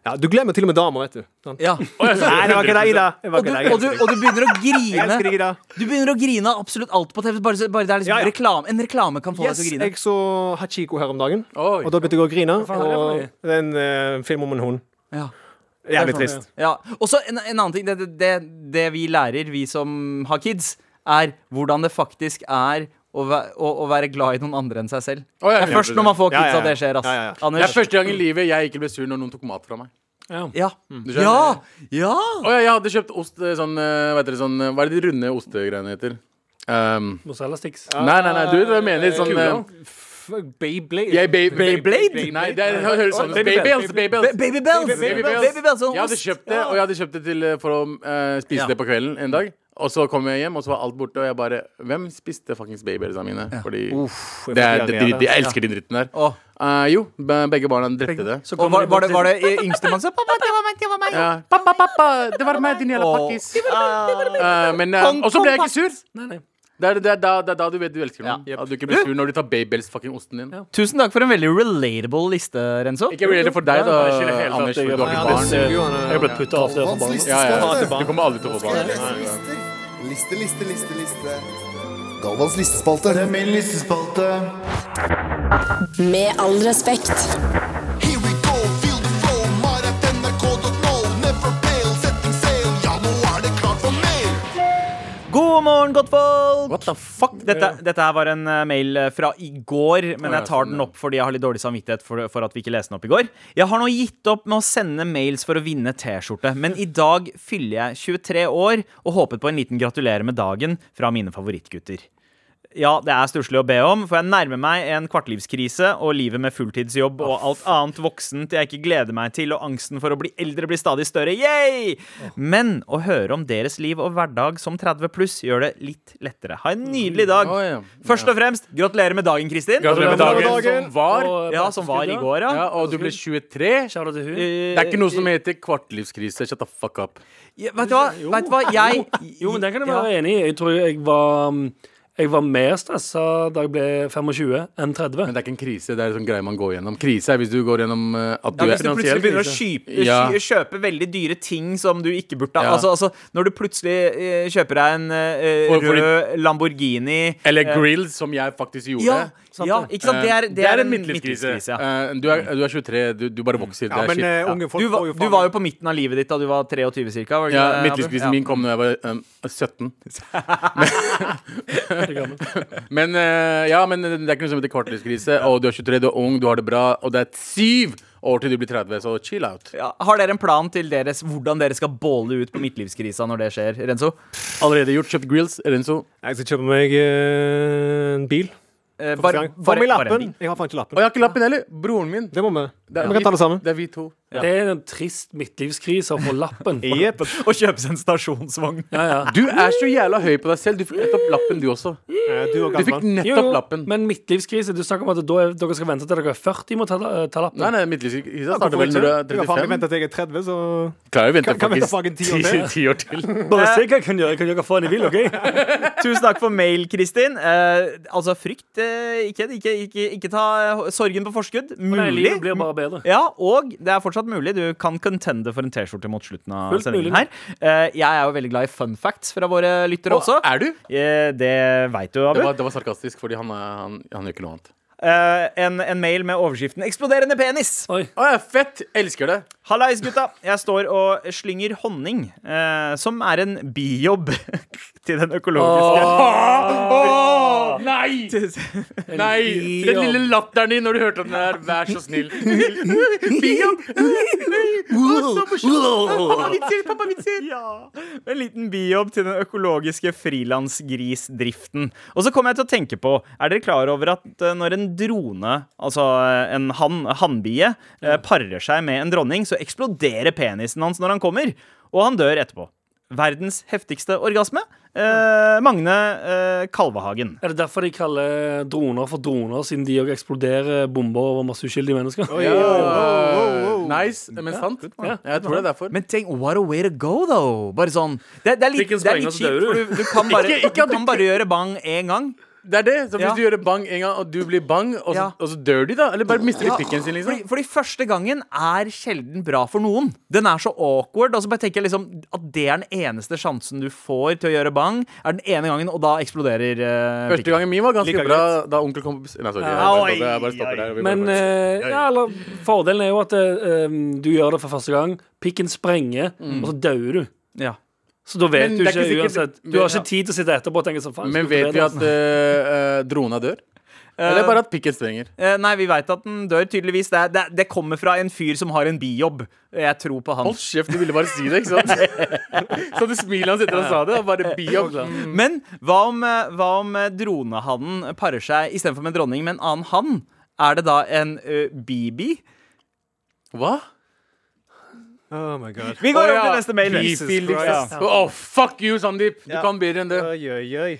Speaker 7: ja, Du glemmer til og med damer, vet du. Sant?
Speaker 2: Ja. Og,
Speaker 7: Nei, det var ikke deg, Ida. Det var
Speaker 2: du,
Speaker 7: ikke deg.
Speaker 2: og, du, og du begynner å
Speaker 7: Jeg elsker
Speaker 2: grine.
Speaker 7: deg, Ida.
Speaker 2: Du begynner å grine av absolutt alt på TV. Bare, så- bare det er liksom
Speaker 7: Ja, ja.
Speaker 2: Reklame, en reklame kan få
Speaker 7: Yes,
Speaker 2: deg til å grine.
Speaker 7: jeg så Hachiko her om dagen,
Speaker 5: Oi.
Speaker 7: og da begynte jeg å grine.
Speaker 6: faen er det for
Speaker 7: Og
Speaker 6: noe?
Speaker 7: det er en eh, film om en hund.
Speaker 2: Ja.
Speaker 7: Jævlig trist.
Speaker 2: Ja. Og så en, en annen ting. Det, det, det, det vi lærer, vi som har kids, er hvordan det faktisk er å, væ- å, å være glad i noen andre enn seg selv.
Speaker 5: Å, ja,
Speaker 2: Det er først når man får kids at det skjer, ass.
Speaker 7: Ja, ja, ja.
Speaker 5: Det er
Speaker 2: Anders.
Speaker 5: første gang i livet jeg ikke ble sur når noen tok mat fra meg.
Speaker 2: Ja.
Speaker 7: Mm.
Speaker 5: skjønner.
Speaker 2: Ja! ja.
Speaker 5: Å ja, jeg hadde kjøpt ost eh, sånn, eh, vet dere, sånn eh, Hva er det de runde ostegreiene heter? Um,
Speaker 6: Mozzarella sticks.
Speaker 5: nei, nei, nei, du vet hva jeg mener. Sånn eh,
Speaker 7: Ah, Beyblade.
Speaker 5: jeg, ba
Speaker 2: Beyblade?
Speaker 5: Nei, det er, det høres sånn ut.
Speaker 6: Babybel.
Speaker 5: Babybells. Babybells.
Speaker 2: Ba- Baby bells! Baby
Speaker 5: Baby bells.
Speaker 2: bells. sånn
Speaker 5: Jeg hadde
Speaker 2: ost.
Speaker 5: kjøpt det, og jeg hadde kjøpt det til, eh, for å eh, spise
Speaker 2: Ja.
Speaker 5: det på kvelden en dag. Og så kom jeg hjem, og så var alt borte, og jeg bare Hvem spiste fuckings babybellsa mine? Fordi det er, det, de, de elsker den dritten der.
Speaker 2: Åh.
Speaker 5: Eh, jo, be- begge barna drepte det.
Speaker 6: Så
Speaker 2: Og
Speaker 6: kommer
Speaker 2: var,
Speaker 6: de
Speaker 2: var, det, var
Speaker 6: bort
Speaker 2: det yngstemann som Pappa, det var meg, det var meg!
Speaker 5: Ja. Pappa, pappa, det var meg, din jævla pakkis. Eh, men, eh,
Speaker 2: Pong,
Speaker 5: og så ble jeg
Speaker 2: pong,
Speaker 5: ikke sur.
Speaker 6: til- Nei, nei.
Speaker 5: Det er, det, er da, det er da du vet du elsker noen.
Speaker 2: Ja.
Speaker 5: At du ikke blir sur når du tar babybells fucking osten din.
Speaker 6: Ja.
Speaker 2: Tusen takk for en veldig relatable liste, Renzo.
Speaker 5: Ikke relatable
Speaker 2: Eh,
Speaker 5: for deg,
Speaker 6: Nei, jeg skjønner
Speaker 5: da,
Speaker 6: helt at
Speaker 5: Anders.
Speaker 6: jeg-
Speaker 5: for Du har
Speaker 6: Ja,
Speaker 5: ikke barn.
Speaker 6: det- Jeg ble putta av flere for
Speaker 8: Galvans
Speaker 6: barn.
Speaker 5: Ja, ja,
Speaker 8: listespalte.
Speaker 5: ja. Du kommer aldri til å få
Speaker 8: Skal jeg
Speaker 5: barn.
Speaker 8: lese lister? Liste, liste, liste, liste. Galvans listespalte. Det er min listespalte.
Speaker 4: Med all respekt.
Speaker 9: Here we go, feel the flow. MaratNRK.no, never fail, setting sail. Ja, nå er det klart for mer.
Speaker 2: God morgen, godtfolk!
Speaker 5: What the fuck?
Speaker 2: Dette, dette her var en eh, mail fra i går, men
Speaker 5: ja,
Speaker 2: jeg tar
Speaker 5: sånn,
Speaker 2: den
Speaker 5: ja.
Speaker 2: opp fordi jeg har litt dårlig samvittighet for, for at vi ikke leste den opp i går. Jeg har nå gitt opp med å sende mails for å vinne T-skjorte, men i dag fyller jeg 23 år og håpet på en liten gratulerer med dagen fra mine favorittgutter. Ja, det er stusslig å be om, for jeg nærmer meg en kvartlivskrise og livet med fulltidsjobb og alt annet voksent jeg ikke gleder meg til, og angsten for å bli eldre blir stadig større. Yay! Men å høre om deres liv og hverdag som 30 pluss gjør det litt lettere. Ha en nydelig dag.
Speaker 5: Mm. Å, ja.
Speaker 2: Først og fremst, gratulerer med dagen, Kristin.
Speaker 5: Gratulerer med dagen som var.
Speaker 6: Og- eh,
Speaker 2: Ja, som var i går, Eh, ja.
Speaker 5: Ja, og du ble 23.
Speaker 6: Kjære til Altså, hun.
Speaker 5: Det er ikke noe som heter kvartlivskrise. Shut the fuck up.
Speaker 2: Ja, vet du hva? Vet du hva? Jeg
Speaker 6: Jo, men den kan jeg
Speaker 2: Ja.
Speaker 6: være enig i. Jeg tror jeg var mm, jeg var mer stressa da jeg ble 25 enn 30.
Speaker 5: Men det er ikke en krise. Det er en sånn greie man går gjennom. Krise er hvis du går gjennom eh, at du
Speaker 2: Ja,
Speaker 5: er
Speaker 2: hvis du plutselig begynner å
Speaker 5: krise.
Speaker 2: kjøpe,
Speaker 5: Ja.
Speaker 2: kjø- kjøpe veldig dyre ting som du ikke burde ha
Speaker 5: Ja.
Speaker 2: altså, altså, Når du plutselig eh, kjøper deg en eh,
Speaker 5: For- for
Speaker 2: rød Lamborghini
Speaker 5: Eller grills, som jeg faktisk gjorde.
Speaker 2: ja, ja, ikke sant? Det er,
Speaker 5: Eh,
Speaker 2: det er en
Speaker 5: midtlivskrise.
Speaker 2: midtlivskrise. ja.
Speaker 5: Eh, Du, er- du er 23, du, du bare vokser.
Speaker 7: Ja,
Speaker 5: det
Speaker 7: men
Speaker 5: er shit.
Speaker 7: eh, unge folk
Speaker 2: Du, var-
Speaker 7: får jo
Speaker 2: du var jo på midten av livet ditt da du var 23 cirka var det
Speaker 5: eh, Ja,
Speaker 2: ikke det, Abu?
Speaker 5: Midtlivskrisen min kom da jeg var um, 17. men, eh, ja, men det er ikke noe som heter kvartlivskrise. Og du er 23, du er ung, du har det bra, og det er syv år til du blir 30, så chill out.
Speaker 2: ja. Har dere en plan til deres, hvordan dere skal båle ut på midtlivskrisa når det skjer, Renzo?
Speaker 5: Allerede gjort, kjøpt grills, Renzo.
Speaker 7: Jeg skal kjøpe meg eh, en bil.
Speaker 2: Eh, bare- bare-
Speaker 7: Bare, Få meg
Speaker 2: bare en
Speaker 7: lappen.
Speaker 2: bil.
Speaker 7: Jeg har faen ikke
Speaker 5: Og
Speaker 7: lappen. Eh,
Speaker 5: jeg har ikke lappen heller! Broren min.
Speaker 7: Det må vi.
Speaker 5: Det er
Speaker 7: Vi kan ta det sammen.
Speaker 5: Det er vi to.
Speaker 6: Det er en trist midtlivskrise å få lappen.
Speaker 7: Jepp.
Speaker 2: Og kjøpe seg en stasjonsvogn.
Speaker 6: Ja, ja.
Speaker 5: Du er så jævla høy på deg selv. Du fikk nettopp lappen, du også.
Speaker 7: Eh, Du og
Speaker 5: Du fikk
Speaker 7: gamlemann.
Speaker 5: nettopp
Speaker 6: Jo, jo,
Speaker 5: lappen.
Speaker 6: men midtlivskrise Du snakker om at da er, dere skal vente til dere er 40 med å ta, eh, ta lappen.
Speaker 5: Nei, nei, midtlivskrisa
Speaker 7: Jeg
Speaker 5: starter vel når du er
Speaker 7: har faen meg
Speaker 5: 35.
Speaker 7: ventet til jeg er 30, så
Speaker 5: Klarer jo å vente
Speaker 7: Kan- kan vente
Speaker 5: faktisk
Speaker 7: fucking ti år til.
Speaker 5: ti år til.
Speaker 6: Bare se hva jeg kan gjøre. Jeg kan gjøre hva faen jeg vil, OK?
Speaker 2: Tusen takk for mail, Kristin. Eh, altså, frykt eh, ikke, ikke, ikke, ikke ta eh, sorgen på forskudd. Mulig.
Speaker 6: Nei, livet blir bare bedre.
Speaker 2: Ja, og det er fortsatt mulig. Du kan contende for en T-skjorte mot slutten av
Speaker 6: Fullt
Speaker 2: sendingen
Speaker 6: mulig.
Speaker 2: her. Eh, jeg er jo veldig glad i fun facts fra våre lyttere også.
Speaker 5: Er du?
Speaker 2: Eh, det veit du, Abu.
Speaker 5: Det var, det var sarkastisk, fordi han, er- han, han gjør ikke noe annet.
Speaker 2: Eh, en, en mail med overskriften 'Eksploderende penis'.
Speaker 6: Oi.
Speaker 5: Å, ja, fett! Elsker det.
Speaker 2: Hallais, gutta. Jeg står og slynger honning, eh, som er en bijobb til den økologiske
Speaker 5: Nei! Nei!
Speaker 6: Den
Speaker 5: Den
Speaker 6: lille
Speaker 5: lille latteren din når du hørte den der. Vær så snill.
Speaker 2: Ja. En liten bijobb til den økologiske frilansgrisdriften. Og så kom jeg til å tenke på, er dere klar over at eh, når en drone, altså eh, en hann, hannbie, eh, parer seg med en dronning, så eksploderer penisen hans når han kommer, og han dør etterpå. Verdens heftigste orgasme. Eh, Magne eh, Kalvehagen.
Speaker 6: Er det derfor de kaller droner for droner, siden de òg eksploderer bomber over masse uskyldige mennesker?
Speaker 5: Nice, men sant. Ja, jeg tror det er derfor.
Speaker 2: Eh, Men tenk, what a way to go, though. Bare sånn Det, det er litt,
Speaker 6: Hvilken
Speaker 2: det er
Speaker 6: spreng,
Speaker 2: litt
Speaker 6: så
Speaker 2: kjipt,
Speaker 6: dør
Speaker 2: for du,
Speaker 6: du.
Speaker 2: du kan bare,
Speaker 5: Ikke- ikke at
Speaker 2: du kan bare gjøre bang én gang.
Speaker 5: Det er det. Så hvis
Speaker 2: Ja.
Speaker 5: du gjør det bang en gang, og du blir bang, og så,
Speaker 2: Ja.
Speaker 5: og så dør de, da? Eller bare mister de pikken
Speaker 2: Fordi,
Speaker 5: sin, liksom?
Speaker 2: fordi første gangen er sjelden bra for noen. Den er så awkward. Og så bare tenker jeg liksom at det er den eneste sjansen du får til å gjøre bang, er den ene gangen, og da eksploderer eh,
Speaker 5: Første gangen min var ganske
Speaker 7: Like
Speaker 5: bra da onkel kom på bes- Nei, sorry. Jeg
Speaker 2: Ja,
Speaker 5: bare
Speaker 2: oi,
Speaker 5: stopper, jeg bare stopper der. Vi
Speaker 6: Men
Speaker 5: bare-
Speaker 6: eh, ja, eller, fordelen er jo at eh, um, du gjør det for første gang, pikken sprenger, og så dauer du.
Speaker 2: pikken. Ja.
Speaker 6: Så da vet
Speaker 5: Mm. Men
Speaker 6: du
Speaker 5: det er
Speaker 6: ikke
Speaker 5: ikke sikkert-
Speaker 6: uansett. Du
Speaker 5: Ja.
Speaker 6: har ikke tid til å sitte etterpå og tenke sånn faen.
Speaker 5: Men
Speaker 6: skulle
Speaker 5: vet vi at
Speaker 6: forbedre
Speaker 5: eh, eh, drona dør? Eller bare at pikken strenger?
Speaker 2: Eh, nei, vi veit at den dør, tydeligvis. Det, er- det, er- det kommer fra en fyr som har en bijobb. Jeg tror på han.
Speaker 5: Hold kjeft, du ville bare si det, ikke sant? Så du smilet hans etter han sa det, og bare bijobb. Mm.
Speaker 2: Men hva om, eh, hva om eh, dronehannen parer seg istedenfor med en dronning med en annen hann? Er det da en ø, bibi?
Speaker 5: Hva?
Speaker 7: Oh my god.
Speaker 2: Vi går over til neste mail.
Speaker 5: Bifil,
Speaker 7: Jesus
Speaker 5: liksom.
Speaker 7: Christ.
Speaker 5: Å, oh, fuck you, Sandeep! Du
Speaker 7: Ja.
Speaker 5: kan bedre enn det.
Speaker 7: Oi, oi, oi.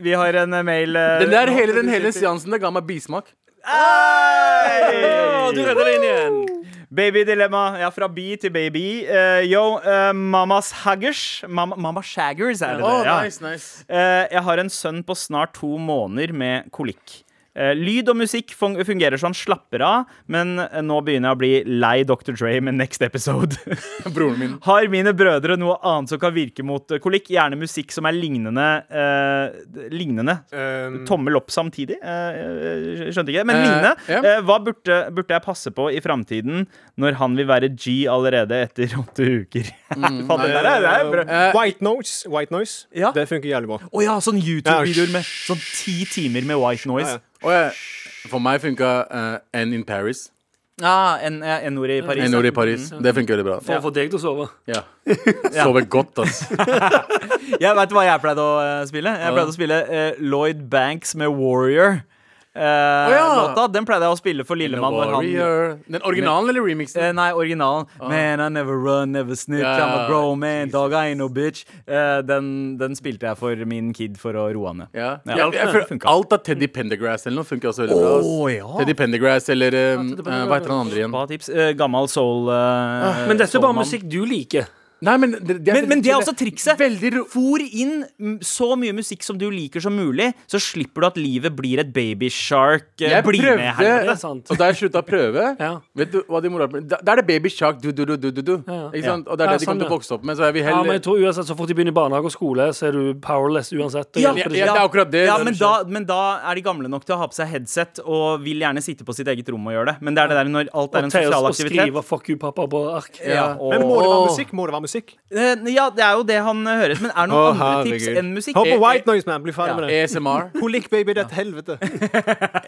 Speaker 2: Vi har en eh, mail eh,
Speaker 5: Den der hele, den hele seansen det ga meg bismak.
Speaker 2: Hei!
Speaker 6: Å, du redder deg inn igjen.
Speaker 2: Babydilemma. Ja, fra bi til baby. Eh, yo, eh, mamas haggers. Mamma, mamma shaggers, er det
Speaker 5: Å,
Speaker 2: det? Ja.
Speaker 5: nice, nice.
Speaker 2: Eh, jeg har en sønn på snart to måneder med kolikk. Eh, lyd og musikk fun- fungerer så han slapper av, men eh, nå begynner jeg å bli lei Dr. Dre med next episode.
Speaker 5: Broren min.
Speaker 2: Har mine brødre noe annet som kan virke mot eh, kolikk? Gjerne musikk som er lignende. eh, d- lignende.
Speaker 7: Um,
Speaker 2: Tommel opp samtidig? Eh, eh, skjønte ikke. Men
Speaker 5: Mm. Eh,
Speaker 2: lignende.
Speaker 5: ja.
Speaker 2: Eh, hva burde, burde jeg passe på i framtiden når han vil være G allerede etter åtte uker?
Speaker 5: Mm.
Speaker 2: Faen, det der er, det er bra.
Speaker 5: Eh,
Speaker 7: White noise. White noise.
Speaker 2: Ja.
Speaker 7: Det funker jævlig bra.
Speaker 2: Å ja, sånn YouTube-videoer
Speaker 7: Ja,
Speaker 2: med sånn ti timer med white noise.
Speaker 7: Ja, ja.
Speaker 5: Og jeg, for meg funka eh, N in Paris.
Speaker 2: Ja, Ah, en- ja, N-ord i Paris.
Speaker 5: N-ord i Paris.
Speaker 2: Mm.
Speaker 5: Det funker veldig bra.
Speaker 6: for å få deg til å sove.
Speaker 5: Ja. Sover godt, ass.
Speaker 2: Jeg vet hva jeg pleide å eh, spille. Jeg pleide å spille eh, Lloyd Banks med Warrior. eh,
Speaker 5: ja.
Speaker 2: Låta, Den pleide jeg å spille for Lillemann. Når han,
Speaker 5: Warrior. Den originalen eller remixen?
Speaker 2: Eh, nei, originalen. Man, I never run, never snitch.
Speaker 5: Ja,
Speaker 2: I'm a grown man, dog, I ain't no bitch. Eh, den, den spilte jeg for min kid for å roe han ned.
Speaker 5: Ja.
Speaker 2: Ja,
Speaker 5: Jeg- jeg føler
Speaker 2: funka.
Speaker 5: alt av Teddy Pendergrass eller noe funker også veldig bra. ass.
Speaker 2: Å, ja.
Speaker 5: Teddy Pendergrass eller um, eh, Hva heter han andre igjen?
Speaker 2: Bra tips. Eh, gammel soul. eh,
Speaker 6: Men dette er bare
Speaker 2: soulmann.
Speaker 6: musikk du liker.
Speaker 5: Nei, men det, det
Speaker 2: Men, men det er også trikset.
Speaker 5: Veldig ro
Speaker 2: Fôr inn mm, så mye musikk som du liker som mulig, så slipper du at livet blir et babyshark.
Speaker 5: Jeg
Speaker 2: Bli med
Speaker 5: prøvde-
Speaker 2: her.
Speaker 6: Det er sant.
Speaker 5: Og da jeg slutta å prøve
Speaker 6: Ja.
Speaker 5: Vet du hva de morapulerne Da da er det Baby Shark du, du, du, du, du, du.
Speaker 6: Ja.
Speaker 5: Ikke sant? Og det er
Speaker 6: Ja,
Speaker 5: det de kommer
Speaker 6: sånn,
Speaker 5: til å
Speaker 6: ja.
Speaker 5: vokse opp med. Så jeg vil
Speaker 6: Ja, men
Speaker 5: heller
Speaker 6: jeg tror uansett Så fort de begynner i barnehage og skole, så er du powerless uansett. Det
Speaker 2: Ja,
Speaker 5: ja,
Speaker 6: hjelper ikke.
Speaker 5: det er akkurat det.
Speaker 2: Ja,
Speaker 5: Det er
Speaker 2: men
Speaker 5: det
Speaker 2: da, men da er de gamle nok til å ha på seg headset og vil gjerne sitte på sitt eget rom og gjøre det. Men det er det der når alt er en
Speaker 6: Og til å-
Speaker 2: sosial
Speaker 6: å
Speaker 2: aktivitet.
Speaker 6: skrive 'fuck you, pappa' på ark.
Speaker 2: Ja, og,
Speaker 7: Men må det være
Speaker 5: Åh.
Speaker 7: musikk? Må det være musikk?
Speaker 2: Eh, ja, det er jo det han eh, høres. Men er det noen
Speaker 7: Å,
Speaker 2: andre tips
Speaker 7: herregud.
Speaker 2: enn musikk?
Speaker 7: Hør på
Speaker 2: Eh,
Speaker 7: White Noise, man. Bli ferdig
Speaker 2: Ja. Eh.
Speaker 7: med det.
Speaker 5: ASMR.
Speaker 7: Polikk, baby, det er et helvete.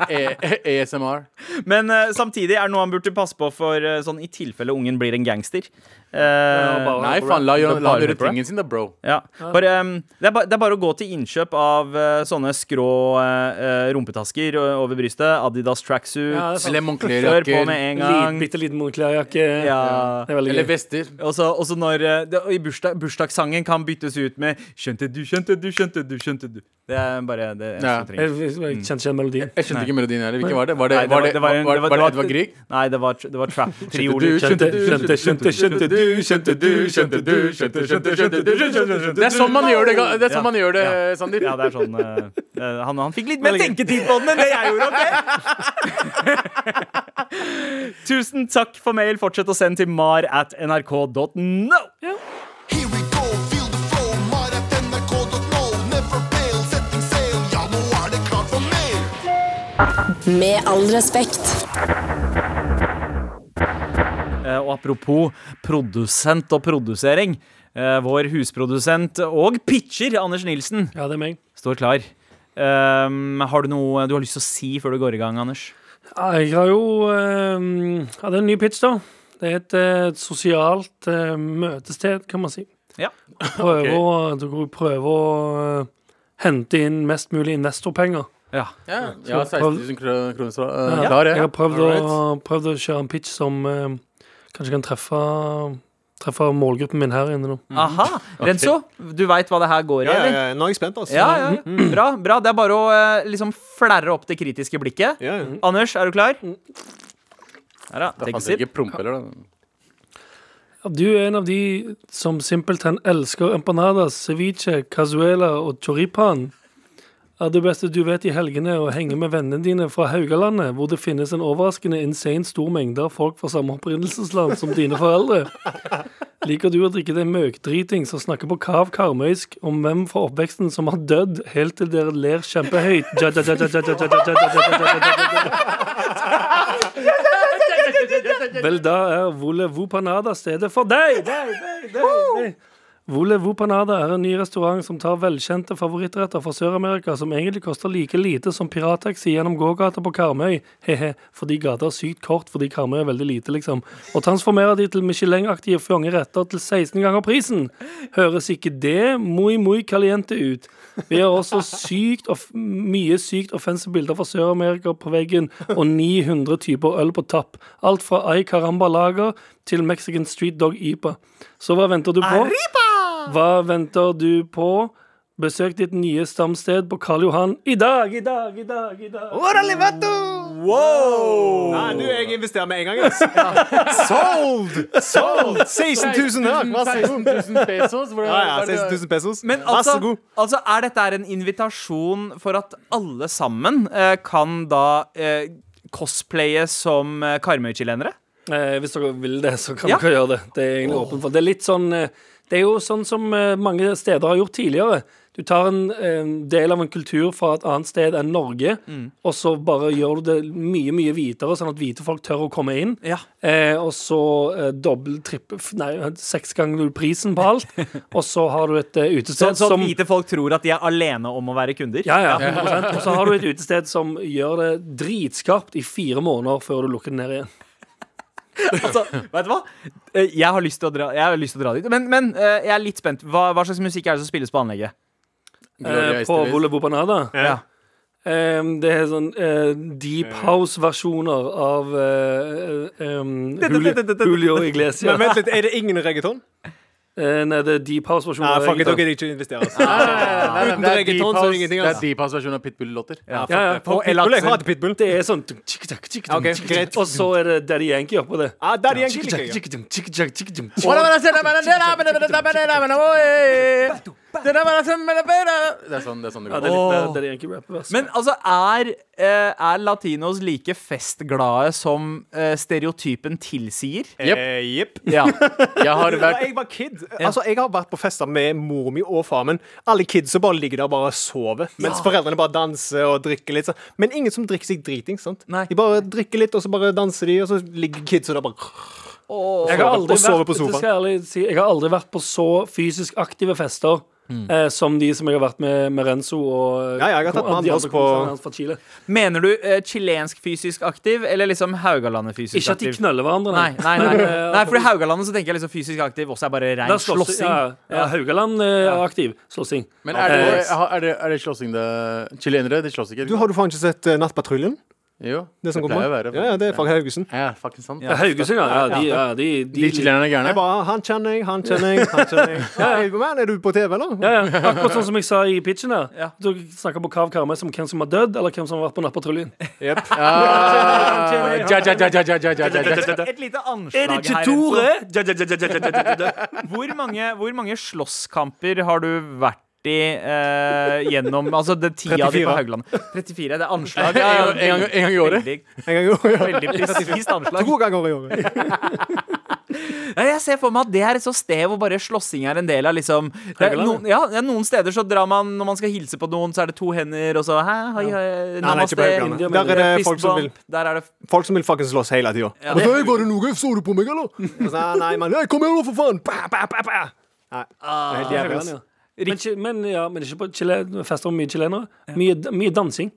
Speaker 5: E- e- ASMR.
Speaker 2: Men eh, samtidig er det noe han burde passe på for eh, sånn i tilfelle ungen blir en gangster. Eh,
Speaker 6: bare-
Speaker 5: Nei, faen, la
Speaker 2: Det er
Speaker 5: la han
Speaker 2: bare
Speaker 5: gjøre
Speaker 2: rapper,
Speaker 5: tingen sin, da, bro.
Speaker 2: Ja. Bare, um, det, er ba, det er bare å gå til innkjøp av eh, sånne skrå eh, eh, rumpetasker eh, over brystet. Adidas tracksuit.
Speaker 6: Ja, det er sant.
Speaker 5: Eller
Speaker 2: Kjør på
Speaker 5: Moncler-jakker.
Speaker 2: med en
Speaker 6: Liten,
Speaker 2: gang.
Speaker 6: bitte liten Moncler-jakke.
Speaker 2: Ja.
Speaker 6: Det er veldig
Speaker 5: Eller
Speaker 6: gøy.
Speaker 5: vester.
Speaker 2: Og så og så når eh, det, og I bursdag, bursdagssangen kan byttes ut med 'Skjønte du, skjønte du, skjønte du'. skjønte du Det er bare det eneste
Speaker 5: Ja.
Speaker 2: du trenger.
Speaker 6: Jeg jeg kjente ikke den melodien.
Speaker 5: Jeg skjønte ikke melodien heller. Hvilken var det? Var det,
Speaker 2: Nei,
Speaker 5: var det,
Speaker 2: var- var en-
Speaker 5: var,
Speaker 2: det var-
Speaker 5: var det
Speaker 2: det var-
Speaker 5: Edvard Grieg?
Speaker 2: Nei, det var, tr- det var trap.
Speaker 5: du,
Speaker 2: Trioler.
Speaker 5: skjønte du,
Speaker 6: Skjønte, skjønte, skjønte du, skjønte du, skjønte du, skjønte skjønte, skjønte du, skjønte skjønte
Speaker 5: Det er sånn man gjør det, ga- det, er sånn man gjør det
Speaker 2: Ja.
Speaker 5: Sandeep.
Speaker 2: Ja, det er sånn eh, eh, han, han fikk litt mer tenketid på den enn det jeg gjorde. ok? Tusen takk for mail. Fortsett å sende til mar at nrk.no.
Speaker 9: Here we go, feel the flow, mar at nrk.no. Never fail, setting sail, ja, nå er det klart for mer.
Speaker 4: Med all respekt.
Speaker 2: Eh, Og apropos produsent og produsering. eh, Vår husprodusent og pitcher Anders Nilsen
Speaker 6: Ja, det er meg.
Speaker 2: står klar. Um, har du noe du har lyst til å si før du går i gang, Anders?
Speaker 6: Ja, Jeg har jo ehm, ja, det er en ny pitch, da. Det er et, eh, et sosialt eh, møtested, kan man si.
Speaker 2: Ja.
Speaker 6: Prøver å, du går- prøver å eh, hente inn mest mulig investorpenger.
Speaker 2: Ja.
Speaker 5: Ja, jeg har 16 000 kro- kroner fra uh,
Speaker 6: Ja,
Speaker 5: der,
Speaker 6: Jeg
Speaker 5: jeg.
Speaker 6: har prøvd å,
Speaker 5: Alright.
Speaker 6: prøvd å kjøre en pitch som eh, kanskje kan treffe, treffe målgruppen min her inne nå.
Speaker 5: Mhm.
Speaker 2: Aha. Renzo, du veit hva det her går i,
Speaker 7: Ja, ja,
Speaker 2: eller?
Speaker 7: ja. Nå er jeg spent, altså.
Speaker 2: Ja, ja. Bra. bra. Det er bare å eh, liksom flerre opp det kritiske blikket.
Speaker 7: Ja, ja.
Speaker 2: Anders, er du klar? Her, da.
Speaker 5: Da
Speaker 2: Take a
Speaker 5: fant jeg
Speaker 2: sip.
Speaker 5: ikke prompeller, da.
Speaker 6: Ja, Du er en av de som simpelthen elsker empanadas, ceviche, cazuela og choripan. Er det beste du vet i helgene å henge med vennene dine fra Haugalandet, hvor det finnes en overraskende insane stor mengde av folk fra samme opprinnelsesland som dine foreldre? Liker du å drikke deg møkdriting som snakker på kav karmøysk om hvem fra oppveksten som har dødd, helt til dere ler kjempehøyt? Ja, ja, ja, ja, ja, ja, ja, ja, ja, ja, ja, ja, ja, ja, ja. Vel, da er Vole Vopanada stedet for deg! deg, deg, deg, deg. Vole Vopanada er en ny restaurant som tar velkjente favorittretter fra Sør-Amerika som egentlig koster like lite som pirattaxi gjennom gågata på Karmøy, he-he, fordi gata er sykt kort fordi Karmøy er veldig lite, liksom, og transformerer de til Michelin-aktige fjonge retter til 16 ganger prisen. Høres ikke det moi moi caliente ut? Vi har også sykt off mye sykt offensive bilder fra Sør-Amerika på veggen, og 900 typer øl på tapp. Alt fra Ay Caramba Lager til Mexican Street Dog Ypa. Så hva venter du på? Hva venter du på? Besøk ditt nye stamsted på Karl Johan i dag, i dag, i dag, i dag.
Speaker 7: Nei, du, jeg investerer med en gang, altså. Sold! Sold! 16 000 her. Vær så god.
Speaker 5: 16 000 pesos? Hvordan,
Speaker 7: Ja, ja, 16 000 pesos.
Speaker 2: Men
Speaker 7: Vær så
Speaker 2: altså,
Speaker 7: god.
Speaker 2: altså er dette her en invitasjon for at alle sammen eh, kan da eh, cosplaye som eh, Karmøy-chilenere?
Speaker 6: Eh, hvis dere vil det, så kan
Speaker 2: Ja.
Speaker 6: dere gjøre det. Det er egentlig åpent for. Det er litt sånn eh, Det er jo sånn som eh, mange steder har gjort tidligere. Du tar en, en del av en kultur fra et annet sted enn Norge,
Speaker 2: Mm.
Speaker 6: og så bare gjør du det mye, mye hvitere, sånn at hvite folk tør å komme inn.
Speaker 2: Ja.
Speaker 6: Eh, og så eh, dobbel, trippel f- Nei, seks ganger prisen på alt. og så har du et eh,
Speaker 2: Sånn
Speaker 6: utested
Speaker 2: så at
Speaker 6: som
Speaker 2: hvite folk tror at de er alene om å være kunder?
Speaker 6: ja, ja, 100%. Og så har du et utested som gjør det dritskarpt i fire måneder før du lukker den ned igjen.
Speaker 2: altså, vet du hva? Eh, Jeg har lyst til å dra, jeg har lyst til å dra dit. Men, men eh, jeg er litt spent. Hva, hva slags musikk er det som spilles på anlegget?
Speaker 5: Gloria
Speaker 6: Eh, på
Speaker 5: Estevis.
Speaker 6: Volevo Panada.
Speaker 2: Ja.
Speaker 6: Eh, det er sånn eh, deep house-versjoner av eh, eh, um, Julio, Julio Iglesias.
Speaker 7: Men vent litt, er det ingen reggaeton?
Speaker 6: Eh, nei, det er deep house-versjoner.
Speaker 7: Nei,
Speaker 6: av
Speaker 7: fuck it,
Speaker 6: reggaeton.
Speaker 7: dere ikke investere. Altså.
Speaker 5: Nei, nei,
Speaker 7: Uten
Speaker 5: det er
Speaker 7: reggaeton så
Speaker 5: Deep
Speaker 7: er det
Speaker 5: House-
Speaker 7: ingenting,
Speaker 5: det er
Speaker 7: altså.
Speaker 5: Deep House-versjonen av Pitbull-låter.
Speaker 2: Ja,
Speaker 6: ja, ja.
Speaker 7: Fuck Pitbull, jeg hater Pitbull.
Speaker 6: Det er sånn tuk, tuk, tuk, tuk, tuk,
Speaker 7: Ok,
Speaker 6: tuk,
Speaker 7: greit.
Speaker 6: tuk, Og så er det Daddy Yankee oppå det.
Speaker 7: Ah, der er
Speaker 6: Tuk,
Speaker 7: egentlig
Speaker 6: tuk,
Speaker 7: ikke jeg.
Speaker 6: tuk, tuk, tuk, tuk, tuk, tuk, tuk.
Speaker 5: Det er sånn det, er sånn det
Speaker 6: Ja,
Speaker 5: går.
Speaker 6: det er litt eh,
Speaker 2: Åh.
Speaker 6: Daddy Yankee-rap.
Speaker 2: Men altså, er, eh, er latinos like festglade som eh, stereotypen tilsier?
Speaker 5: Jep.
Speaker 7: Eh, Jepp.
Speaker 2: Ja.
Speaker 5: Jeg har
Speaker 7: Da
Speaker 5: vært
Speaker 7: jeg var kid Altså, jeg har vært på fester med mor mi og far min. Alle kidsa bare ligger der og bare sover, mens foreldrene bare danser og drikker litt. sånn. Men ingen som drikker seg driting. sant?
Speaker 2: Nei.
Speaker 7: De bare drikker litt, og så bare danser de, og så ligger kidsa der bare
Speaker 6: Jeg har
Speaker 7: Og
Speaker 6: aldri
Speaker 7: sove
Speaker 6: vært,
Speaker 7: på sofaen.
Speaker 6: det skal jeg ærlig si, jeg har aldri vært på så fysisk aktive fester eh, som de som jeg har vært med med Renzo og
Speaker 7: Mm.
Speaker 6: eh,
Speaker 7: Ja, ja, jeg har tatt med
Speaker 6: og de
Speaker 7: andre
Speaker 6: andre
Speaker 7: på-
Speaker 6: kompisene hans fra Chile.
Speaker 2: Mener du eh, chilensk fysisk aktiv, eller liksom Haugalandet fysisk
Speaker 6: Ikke at de
Speaker 2: aktiv?
Speaker 6: knøller hverandre,
Speaker 2: Nei, nei, nei.
Speaker 6: Men, eh,
Speaker 2: nei for i Haugalandet så tenker jeg liksom fysisk aktiv også er bare
Speaker 6: der
Speaker 2: rein
Speaker 6: slåss-
Speaker 2: slåssing.
Speaker 6: Ja, ja, Haugaland eh, er aktiv. Slåssing.
Speaker 5: Men er det, er det, er det slåssing det Chilenere, de slåss ikke.
Speaker 7: Du Har du faen ikke sett eh, Nattpatruljen?
Speaker 5: Jo,
Speaker 7: Det som går
Speaker 5: pleier
Speaker 7: på?
Speaker 5: å være
Speaker 7: Ja, ja, det er fra Haugesund.
Speaker 5: Ja, fucking sant.
Speaker 6: Ja, Haugesund, ja. ja, de, ja de,
Speaker 5: De
Speaker 6: de,
Speaker 5: chilenerne er
Speaker 7: Jeg
Speaker 5: gærne.
Speaker 7: bare, Han kjenner jeg, han kjenner jeg, han kjenner jeg. Hey, man, er du på TV, eller?
Speaker 6: ja, ja. Akkurat sånn som jeg sa i pitchen her.
Speaker 2: Ja.
Speaker 6: Du snakker på Kav Karmøy som hvem som har dødd, eller hvem som har vært på nattpatruljen.
Speaker 5: Ah, ja, ja, ja, ja, ja, ja, ja, ja, ja.
Speaker 2: Et lite anslag
Speaker 6: Er det ikke
Speaker 2: her,
Speaker 6: Tore?
Speaker 2: Renzo.
Speaker 6: Ja, ja, ja, ja, ja, ja, ja, ja.
Speaker 2: Hvor mange, hvor mange slåsskamper har du vært i eh, gjennom Altså det tida di på
Speaker 7: 34.
Speaker 2: Haugalandet? 34. Det er anslag.
Speaker 5: En gang- en gang- en gang i året.
Speaker 2: Veldig,
Speaker 7: En gang i året.
Speaker 2: veldig presist anslag.
Speaker 7: To ganger i året.
Speaker 2: Ja, jeg ser for meg at det er et sånt sted hvor bare slåssing er en del av liksom det er
Speaker 6: Haugaland,
Speaker 2: noen, ja, det er noen steder så drar man Når man skal hilse på noen, så er det to hender, og så hei, hei, hei,
Speaker 7: Nei, nei, ikke på Haugalandet. Der er det folk som vil.
Speaker 2: Der er det
Speaker 7: Folk som vil fuckings slåss hele tida. Ja,
Speaker 2: det-
Speaker 7: var det noe? Så du på meg, eller? Og Så, nei, mann. Hey, kom her, nå, for faen! Pa, pa, pa, pa. Nei, det er helt jævlig.
Speaker 6: Haugaland,
Speaker 7: ass.
Speaker 6: ja. Men, chi- men, ja, men ikke på Chile, fester med mye chilenere. Mye, mye dansing.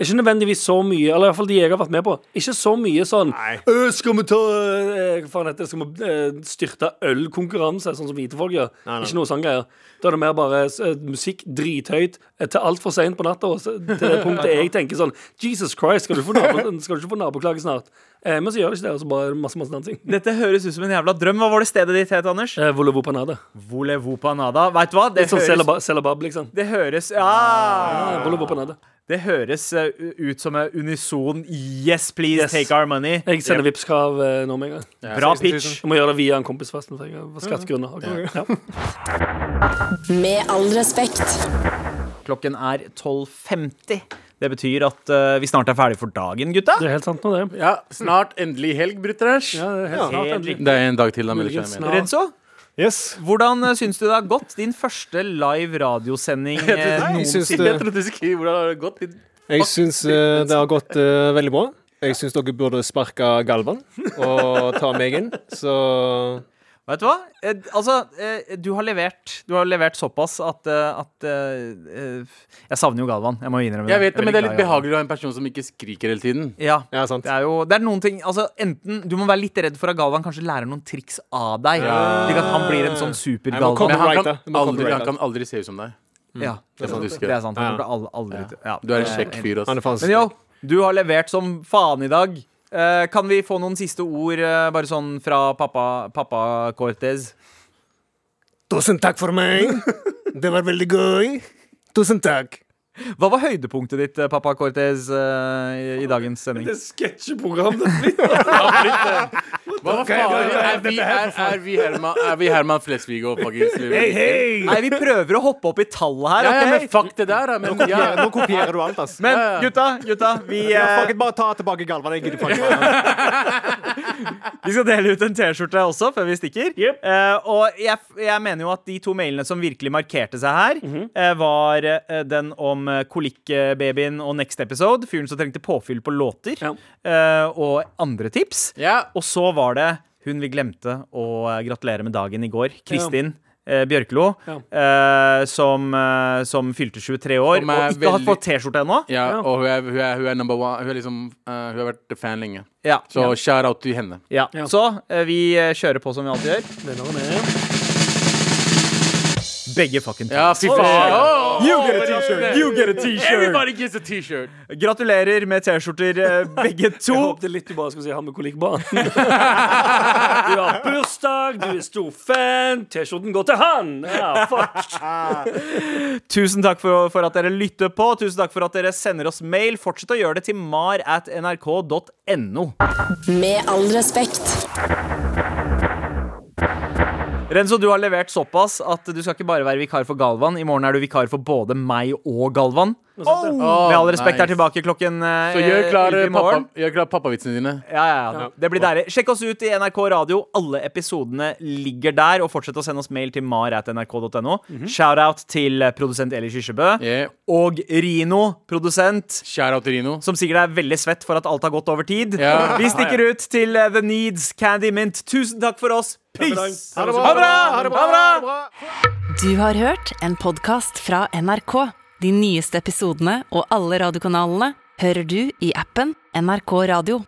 Speaker 6: Ikke nødvendigvis så mye, eller i hvert fall de jeg har vært med på. Ikke så mye sånn «Øh, Skal vi ta øh, hva faen heter det, Skal vi øh, styrte ølkonkurranse, sånn som hvite folk gjør? Ikke noe sånn greier. Da er det mer bare øh, musikk drithøyt øh, til altfor seint på natta. og så- Til det punktet jeg tenker sånn Jesus Christ, skal du, få nabo, skal du ikke få naboklage snart? Eh, men så gjør det ikke det, og så bare er det masse, masse dansing.
Speaker 2: Dette høres ut som en jævla drøm. Hva var det stedet ditt het, Anders?
Speaker 6: Eh, Volevo panade.
Speaker 2: Volevo panada. Vet du hva? Det
Speaker 6: Litt sånn
Speaker 2: høres,
Speaker 6: Celebab, liksom.
Speaker 2: det høres ja.
Speaker 6: Eh, Volevo panade.
Speaker 2: Det høres eh, ut som en unison Yes, please,
Speaker 6: Yes.
Speaker 2: take our money.
Speaker 6: Jeg sender Vipps-krav eh, nå med en gang.
Speaker 2: Bra pitch.
Speaker 6: Jeg må gjøre det via en kompis, forresten. For jeg har skattegrunner. Ja.
Speaker 4: Med all respekt.
Speaker 2: Klokken er 12.50. Det betyr at eh, vi snart er ferdig for dagen, gutta.
Speaker 6: Det er helt sant nå, det.
Speaker 5: Ja, snart endelig helg, Brutterers.
Speaker 6: Ja, det er helt sant, endelig.
Speaker 5: Det er en dag til, da. men det
Speaker 6: Muligens
Speaker 5: skjer mer.
Speaker 6: snart.
Speaker 2: Renzo,
Speaker 7: Yes.
Speaker 2: hvordan eh, syns du det har gått? Din første live radiosending eh,
Speaker 7: Jeg syns
Speaker 2: noensinne.
Speaker 7: det,
Speaker 5: Jeg trodde du skulle skrive hvordan det har gått.
Speaker 7: jeg syns, eh, det har gått eh, veldig bra. Jeg syns dere burde sparke Galvan og ta meg inn, så
Speaker 2: Vet du hva? Eh, altså, eh, du har levert Du har levert såpass at, eh, at eh, eh, Jeg savner jo Galvan. Jeg må jo innrømme
Speaker 5: Jeg vet det, men det er
Speaker 2: Jeg
Speaker 5: litt
Speaker 2: veldig glad i Galvan.
Speaker 5: behagelig å ha en person som ikke skriker hele tiden.
Speaker 2: Ja.
Speaker 7: Ja, sant.
Speaker 2: Det er jo det er noen ting Altså, enten Du må være litt redd for at Galvan kanskje lærer noen triks av deg. Slik at han blir en sånn
Speaker 7: Jeg må
Speaker 5: Men
Speaker 2: super-Galvan.
Speaker 7: komme-
Speaker 5: han
Speaker 7: Copyrightet. Du
Speaker 5: kan
Speaker 7: må
Speaker 5: aldri,
Speaker 7: copyrighte.
Speaker 5: han kan aldri se ut som deg.
Speaker 2: Ja,
Speaker 5: Det er sånn du husker.
Speaker 2: det er sant. Han
Speaker 7: Ja.
Speaker 2: kommer til aldri til ja.
Speaker 5: Du er en kjekk fyr,
Speaker 7: Han
Speaker 5: ass.
Speaker 7: er faen
Speaker 2: Men yo, du har levert som faen i dag. Eh, kan vi få noen siste ord, eh, bare sånn fra pappa, pappa Cortez?
Speaker 7: Tusen takk for meg. Det var veldig gøy. Tusen takk.
Speaker 2: Hva var høydepunktet ditt, eh, pappa Cortez, eh, i, i dagens sending?
Speaker 6: Det er sketsjeprogram. det blir.
Speaker 5: Hva faen? Er vi, er, er vi Herman, er vi Herman Flesvig og fuckings
Speaker 2: Nei, vi prøver å hoppe opp i tallet her,
Speaker 5: Ja, ja, men
Speaker 2: OK?
Speaker 5: fuck det der, da. Men ja.
Speaker 7: Nå kopierer du alt, ass.
Speaker 2: Men gutta, gutta, vi,
Speaker 7: Ja,
Speaker 2: eh,
Speaker 7: fuck it, bare ta tilbake Galvan. Jeg gidder faen ikke. mer.
Speaker 2: Vi skal dele ut en T-skjorte også før vi stikker. Eh, og jeg, jeg mener jo at de to mailene som virkelig markerte seg her, eh, var eh, den om eh, kolikkbabyen og Next Episode, fyren som trengte påfyll på låter,
Speaker 6: Ja.
Speaker 2: eh, og andre tips.
Speaker 5: ja.
Speaker 2: Og så var det hun vi glemte å eh, gratulere med dagen i går, Kristin. eh, Bjørklo, eh, som, eh, som fylte 23 år
Speaker 5: Som
Speaker 2: og
Speaker 5: er
Speaker 2: ikke har
Speaker 5: veldig-
Speaker 2: fått T-skjorte ennå.
Speaker 5: Ja, og hun er, hun, er, hun er number one. Hun, er liksom, eh, hun har vært fan lenge.
Speaker 2: Ja.
Speaker 5: Så shout out til henne.
Speaker 2: Ja. Så eh, vi eh, kjører på som vi alltid gjør.
Speaker 6: Vinneren er
Speaker 2: Begge fucking
Speaker 5: Ja, fy faen.
Speaker 2: You get a T-shirt! You get a T-shirt!
Speaker 5: Everybody gets a T-shirt.
Speaker 2: Gratulerer med T-skjorter, eh, begge
Speaker 6: Jeg
Speaker 2: to.
Speaker 6: håpet litt du bare skulle si han med kolikkbarn. Du har bursdag, du er stor fan, T-skjorten går til han! Ja, fuck.
Speaker 2: Tusen takk for, for at dere lytter på. Tusen takk for at dere sender oss mail. Fortsett å gjøre det til mar at nrk.no.
Speaker 4: Med all respekt.
Speaker 2: Renzo, du har levert såpass at du skal ikke bare være vikar for Galvan. I morgen er du vikar for både meg og Galvan. Med all respekt er tilbake klokken eh,
Speaker 5: Så gjør klar,
Speaker 2: elleve
Speaker 5: eh,
Speaker 2: i
Speaker 5: pappa,
Speaker 2: morgen.
Speaker 5: gjør klar pappavitsene dine.
Speaker 2: Ja, ja, ja. Det blir deilig. Sjekk oss ut i NRK Radio. Alle episodene ligger der. Og fortsett å sende oss mail til mar at nrk.no. Shout-out til eh, produsent Eli Kyrkjebø.
Speaker 5: Yeah.
Speaker 2: Og Rino, produsent.
Speaker 5: Shout out til Rino.
Speaker 2: som sikkert er veldig svett for at alt har gått over tid.
Speaker 5: Ja.
Speaker 2: Vi stikker ut til eh, The Needs Candy Mint. Tusen takk for oss. Peace! Ha det bra! Ha det bra!
Speaker 1: Du har hørt en podkast fra NRK. De nyeste episodene og alle radiokanalene hører du i appen NRK Radio.